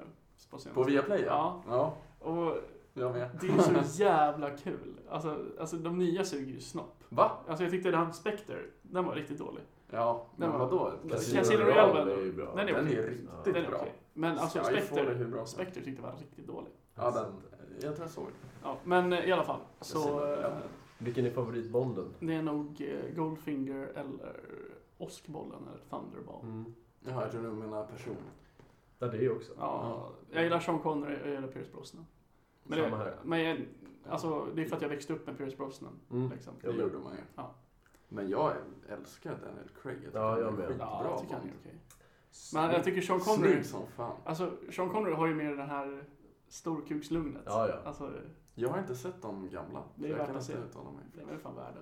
På, senaste. På Viaplay Ja. ja. Och Jag med. det är så jävla kul. Alltså, alltså de nya suger ju snopp. Va? Alltså jag tyckte den här Spectre, den var riktigt dålig. Ja, men Nej, vadå? Casino Casino Royale Royale ändå. Alltså, är ju bra. Den är Den okej. är riktigt Den är bra. okej. Men alltså Skyfall är Spectre, hur bra som helst. Spectre tyckte jag var riktigt dålig. Ja, den. Jag tror jag såg den. Ja, men eh, i alla fall. Så Casino Royale. eh, Vilken är favoritbonden? det är nog eh, Goldfinger eller Oskbollen eller Thunderball. Mm. Jaha, jag tror du menar person. Ja, det är ju också. Ja, jag gillar Sean Connery och jag gillar Pierce Brosnan. Men, Samma det, här. men jag, alltså, det är för att jag växte upp med Pierce Brosnan. Mm. Liksom. Det Jag med. gjorde man ju. Ja. Men jag älskar Daniel Craig. Jag tycker Ja, han är jag med. skitbra Ja, jag tycker han Bond. är okej. Men jag tycker Sean Connery, Snygg som fan. alltså Sean Connery har ju mer den här storkukslugnet. Ja, ja. Alltså, Jag har inte sett de gamla. Det är så jag värt kan att inte se. uttala mig. det är väl fan värde.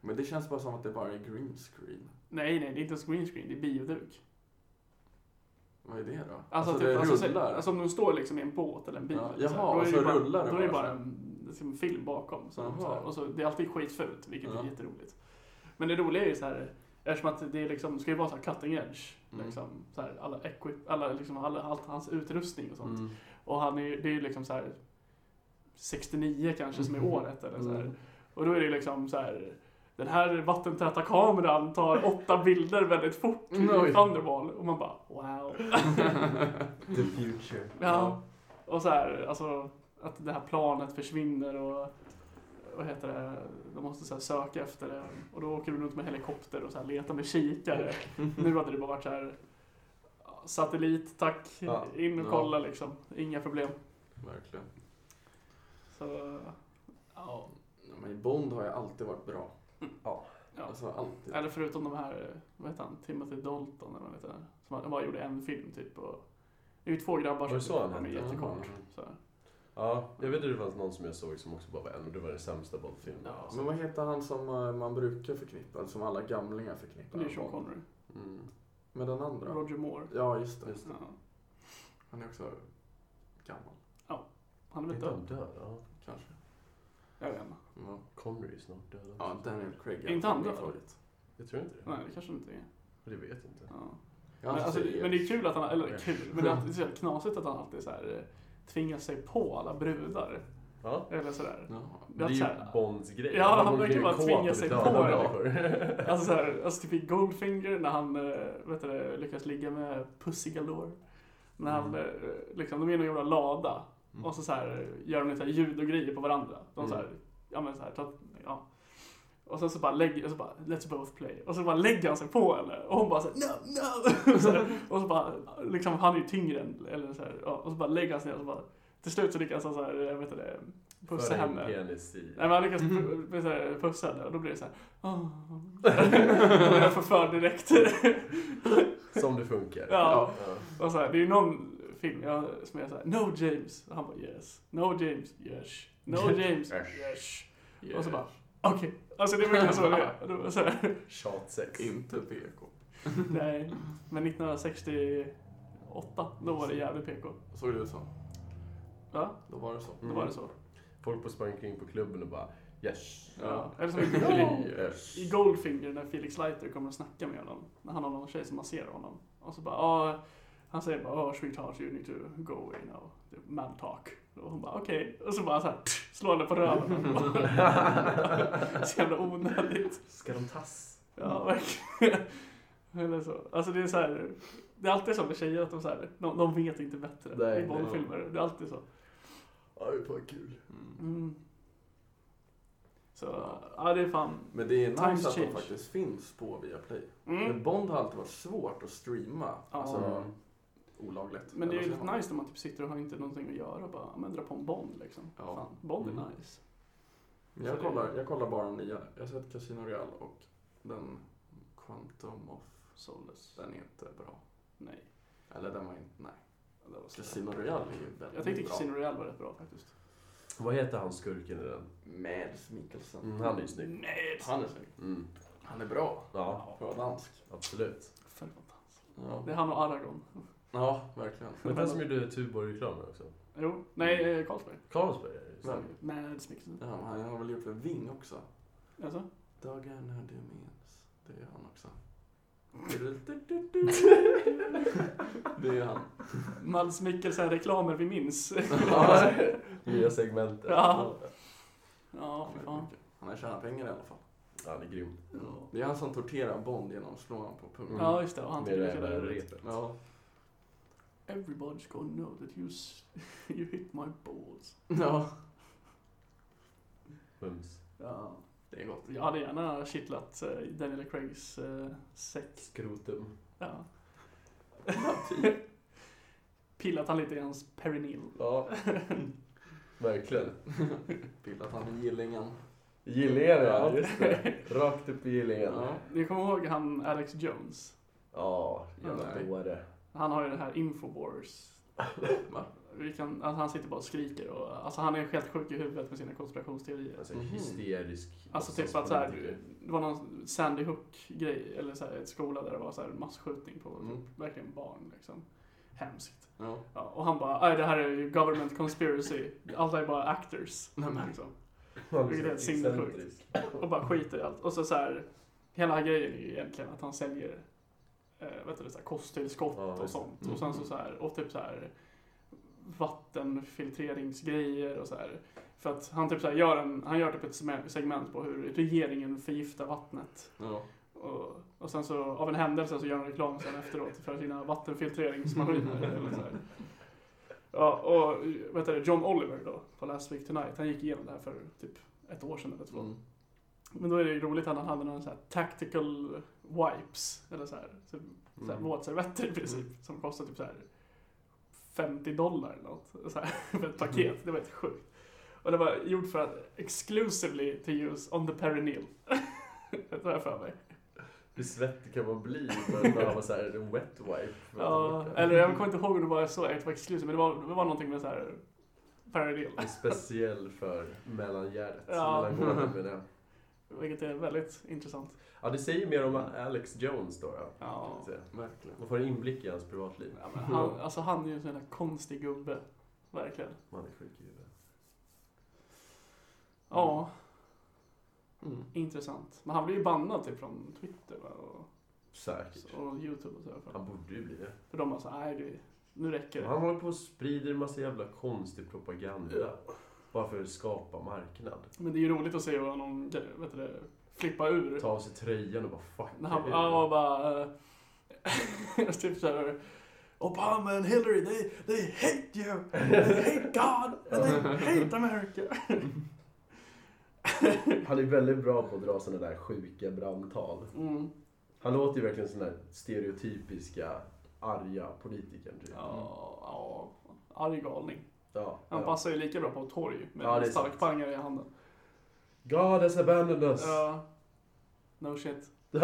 Men det känns bara som att det bara är green screen. Nej, nej, det är inte ens green screen, det är bioduk. Vad är det då? Alltså, typ, det alltså, så- rullar. alltså om de står liksom i en båt eller en bil. Ja, så här, jaha, då är och det så ju bara, rullar det Då är det bara bara en liksom, film bakom. Så, Jaha. så här, och så, det är alltid skitfult, vilket Ja. är jätteroligt. Men det roliga är ju så här, eftersom att det är liksom, ska ju vara så här cutting edge. Mm. Liksom, så här, alla equip, alla, liksom, alla, allt hans utrustning och sånt. Mm. Och han är, det är ju liksom så här 69 kanske som är Mm. året eller så här. Mm. Och då är det liksom så här. Den här vattentäta kameran tar åtta bilder väldigt fort i Oj. Thunderball. Och man bara wow. The future. Ja. Och så här, alltså att det här planet försvinner och vad heter det, de måste så här söka efter det. Och då åker de runt med helikopter och så här letar med kikare. Nu hade det bara varit så här satellit, tack, Ja. in och Ja. kolla liksom. Inga problem. Verkligen. Så, ja. Ja, Men Bond har ju alltid varit bra. ja. Alltså alltid. Eller förutom de här, eh, vad heter han, Timothy Dalton eller vad heter han? Som bara gjorde en film typ. Och, det är ju två grabbar Var det så han de är hette? jättekort. Mm. Så här. Ja, jag vet att det fanns någon som jag såg som också bara var en och det var den sämsta Bondfilmen. Ja. Men vad heter han som eh, man brukar förknippa, eller som alla gamlingar förknippar? Det är ju Sean Connery. Mm. Med den andra? Roger Moore. Ja, just det. Just Ja. Han är också gammal, Han är Är väl inte död? han död? Ja. kanske. Jag vet inte. Ja, Connery är snart död också. ja Daniel Craig Är inte han min död? favorit. Jag tror inte det. Nej, det kanske inte är. Det vet jag inte. Ja. Jag har Men, inte alltså, sett men det är kul att han, eller Nej. kul, men det är alltid så här knasigt att han alltid så här, eh, tvingar sig på alla brudar. Ja. Eller sådär. Jaha. Det är så ju här- Bonds grej. Ja, han går verkar omkring bara och kåt tvinga och sig dödar på, ja. människor. Alltså, så här, alltså typ i Goldfinger när han eh, vet du, det, lyckas ligga med Pussy Galore. När han, Mm. eh, liksom, de är i någon jävla lada Mm. och så, så här, gör de lite så här ljud och grejer på varandra. De så här, ja men så här, tar, ja. Och sen så bara lägger, så bara let's both play. Och så bara lägger han sig på henne och hon bara såhär no, no. så här, och så bara, liksom han är ju tyngre än, eller så här, ja, och så bara lägger han sig ner och så bara, till slut så lyckas han så här, jag vet inte det, pussa För en henne. penis i- Nej men han lyckas pu- pu- så här, pussa henne och då blir det såhär oh. Och jag förför direkt. Som det funkar. Ja. och så här, det är ju någon film jag, som är såhär No James. Och han bara yes. No James. Yes. No James. Yes. Yes. Och så bara okej. Alltså det är verkligen så det är. Det var så här, Tjatsex. Inte PK. nej. Men 1968, då var det jävligt PK. Såg det ut så? Ja, Då var det så. då var det så. Folk på sprang kring på klubben och bara yes. Ja. Eller som i- Yes. i Goldfinger när Felix Leiter kommer och snackar med honom. När han har någon tjej som masserar honom. Och så bara, ah, han säger bara, oh, sweetheart you need to go away now. Det är Man talk. Och hon bara, okej. Och så bara så här, pff, slår henne på röven. så jävla onödigt. Ska de tass? Ja, verkligen. Eller så. Alltså det är så här, det är alltid så med tjejer att de, så här, de, de vet inte bättre Nej, i Bondfilmer. Det är alltid så. Ja, det är fan kul. Mm. Mm. Så, ja det är fan. Men det är nice Times att change. de faktiskt finns på Viaplay. Men Mm. Bond har alltid varit svårt att streama. Ja. Alltså olagligt. Men det är ju Eller lite så- nice när man typ sitter och har inte någonting att göra bara, men dra på en Bond liksom. Ja. Fan, Bond är Mm. nice. Jag Så det- kollar, jag kollar bara de nya. Jag har sett Casino Royale och den Quantum of... Solace. Den är inte bra. Nej. Eller den var inte... Nej. Det var så- Casino Royale är ju väldigt Jag tyckte bra. Casino Royale var rätt bra faktiskt. Vad heter han skurken i den? Mads Mikkelsen. Mm, han är ju snygg. Nej, det- Han är snygg. Mm. Han är bra. Ja, Bra dansk. absolut. För fantastiskt. Ja, Det är han och Aragon. ja verkligen. Men den som gjorde Tuborg-reklamen också. Jo, nej, eh, Carlsberg. Carlsberg är det just. Mm. Ja. Mads Mikkelsen. Ja, men han har väl gjort för Ving också? Alltså? Dagarna du minns. Det är han också. Det är han. Mads Mikkelsen-reklamer vi minns. Ja, Nya segmentet. Ja. Ja, Han fy är fan. mycket. Han har tjänat pengar i alla fall. Han är grym. Det är han som torterar Bond genom att slå honom på pungen. Ja, just det. Och han Med tycker det det är här roligt. repet. Mm. Ja. Everybody's gonna know that you, s- you hit my balls. ja. Mums. Ja. Det är gott. Jag hade gärna kittlat eh, Daniel Craigs eh, säck. Skrotum. Ja. typ. Pillat han lite i hans perineal. Ja, verkligen. Pillat han i gillingen. Gillingar ja, Ja. just det. Rakt upp i gillingen. Ja. Ni kommer ihåg han Alex Jones? Ja, jävla Nej. dåre. Han har ju den här Infowars. Va? Vi kan, alltså han sitter bara och skriker. Och, alltså han är helt sjuk i huvudet med sina konspirationsteorier. Alltså Mhm. hysterisk. Alltså typ att så här, det var någon Sandy Hook-grej, eller så här, ett skola där det var så här massskjutning på Mm. typ, verkligen barn. Liksom. Hemskt. Ja. Ja, och han bara, "Aj, det här är ju government conspiracy. Allt är bara actors. Nej, men. Liksom. Han vilket är är ett så sinnessjukt. excentrisk. Och bara skiter i allt. Och så, så här, hela grejen är ju egentligen att han säljer eh, vet du, så här, kosttillskott Ja, och just det. sånt. Och sen så, så här, och typ så här vattenfiltreringsgrejer och så här. För att han typ så här gör, en, han gör typ ett sme- segment på hur regeringen förgiftar vattnet. Ja. Och, och sen så av en händelse så gör han reklam sen efteråt för sina vattenfiltreringsmaskiner. eller så här. Ja, och vet du, John Oliver då, på Last Week Tonight, han gick igenom det här för typ ett år sedan eller två. Mm. Men då är det ju roligt att han hade någon sån här tactical wipes, eller så här, så, så här Mm. våtservetter i princip, Mm. som kostar typ så här 50 dollar eller något, så här, för ett paket. Det var helt sjukt. Och det var gjort för att exclusively to use on the perineal. det har jag för mig. Hur svettig kan man bli när man har så här en wet wipe? Ja, eller jag kommer inte ihåg om det var så extra exclusive, men det var, det var någonting med så här perineal. Det är Speciell för mellangärdet. Ja. Mellangården menar jag. Vilket är väldigt intressant. Ja, det säger mer om Alex Jones då. Ja. Ja. Så, Verkligen. Man får en inblick i hans privatliv. Ja, Mm. men han, alltså han är ju en sån här konstig gubbe. Verkligen. Man är sjuk i huvudet. Ja. Mm. Intressant. Men han blev ju bannad typ från Twitter va? Och, Säkert. och Youtube och sådär. Han borde ju bli det. För de bara så nej det, nu räcker det. Han håller på och sprider massa jävla konstig propaganda. Bara för att skapa marknad. Men det är ju roligt att se hur någon, vet du det, flippa ur. Ta av sig tröjan och bara fuck När han it. ja, och bara... eh, typ såhär... Obama and Hillary, they, they hate you! They hate God! And they hate America! Han är väldigt bra på att dra sådana där sjuka brandtal. Mm. Han låter ju verkligen sån där stereotypiska arga politikern typ. Ja, ja. Arg galning. Ja, Han ja. passar ju lika bra på ett torg med Ja, det är en sant. starkpangare i handen. God has abandoned us. Ja. No shit.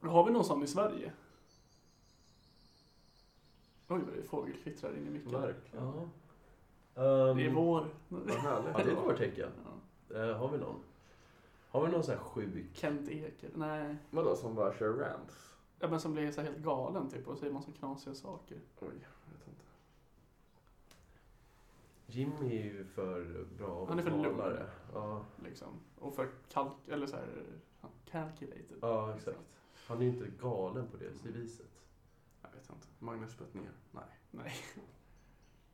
Har vi någon sån i Sverige? Oj, vad det är fågelkvittrar in i micken. Verkligen. Ja. Ehm, Det är vår. Vad härligt. Ja, det är ett vårtecken. Ja. Eh, har vi någon? Har vi någon sån här sjuk? Kent Eker. Nej. Vadå, som bara kör rants? Ja, men som blir så här helt galen typ och säger massa knasiga saker. Oj, jag vet inte. Jimmy är ju för bra Han är för lugn. talare. Ja, Liksom. Och för kalk... Eller så här... Calculated. ja, exakt. Han är ju inte galen på det viset. Jag vet inte. Magnus Betnér? Nej. Nej.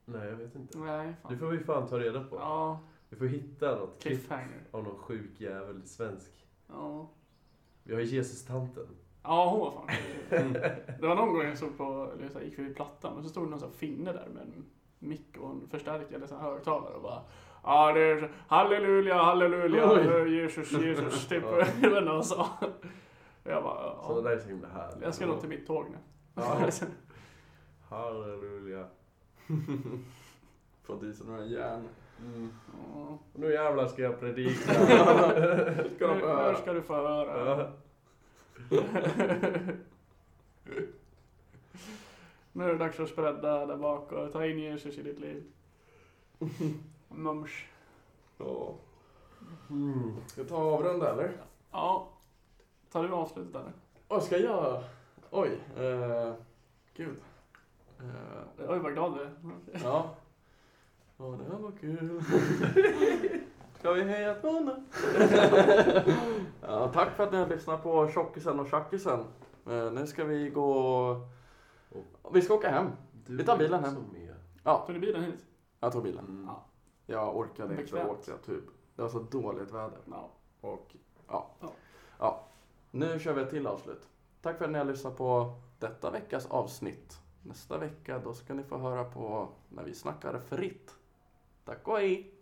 Nej, jag vet inte. Nej, fan. Det får vi fan ta reda på. Ja, Vi får hitta något klipp cliffhanger. av någon sjuk jävel svensk. Ja. Vi har Jesus-tanten. Ja, hon var fan Det var någon gång jag såg på, eller så här, gick förbi Plattan, men så stod det någon sån här finne där med en mick och en förstärkare, eller sån här högtalare och bara Ja, det är så- halleluja, halleluja, Oj. halleluja, Jesus, Jesus, typ. Ja. Jag vet inte vad han sa. Jag bara, Sådana ja, där är så himla härliga. jag ska nog till mitt tåg nu. Ja. Halleluja. Få diesel några järn. Mm. Ja. Nu jävlar ska jag predika. Ska de Nu få höra? ska du få höra. Ja. Nu är det dags att spreada där bak och ta in Jesus i ditt liv. Mums. Ja. Mm. Ska jag ta och avrunda eller? Ja. Tar du avslutet eller? Åh, ska jag? Oj. Eh, gud. Eh, Oj, vad glad du är. ja. Ja, det här var kul. ska vi heja på honom? ja, tack för att ni har lyssnat på Tjockisen och Tjackisen. Eh, nu ska vi gå... Vi ska åka hem. Du Vi tar bilen är hem. också med. Ja, Tog ni bilen hit? jag tog bilen. Mm. Ja. Jag orkade inte Bekvämt. åka typ. Det var så dåligt väder. Ja. Och ja. Ja. ja. Nu kör vi ett till avslut. Tack för att ni har lyssnat på detta veckas avsnitt. Nästa vecka då ska ni få höra på när vi snackar fritt. Tack och hej!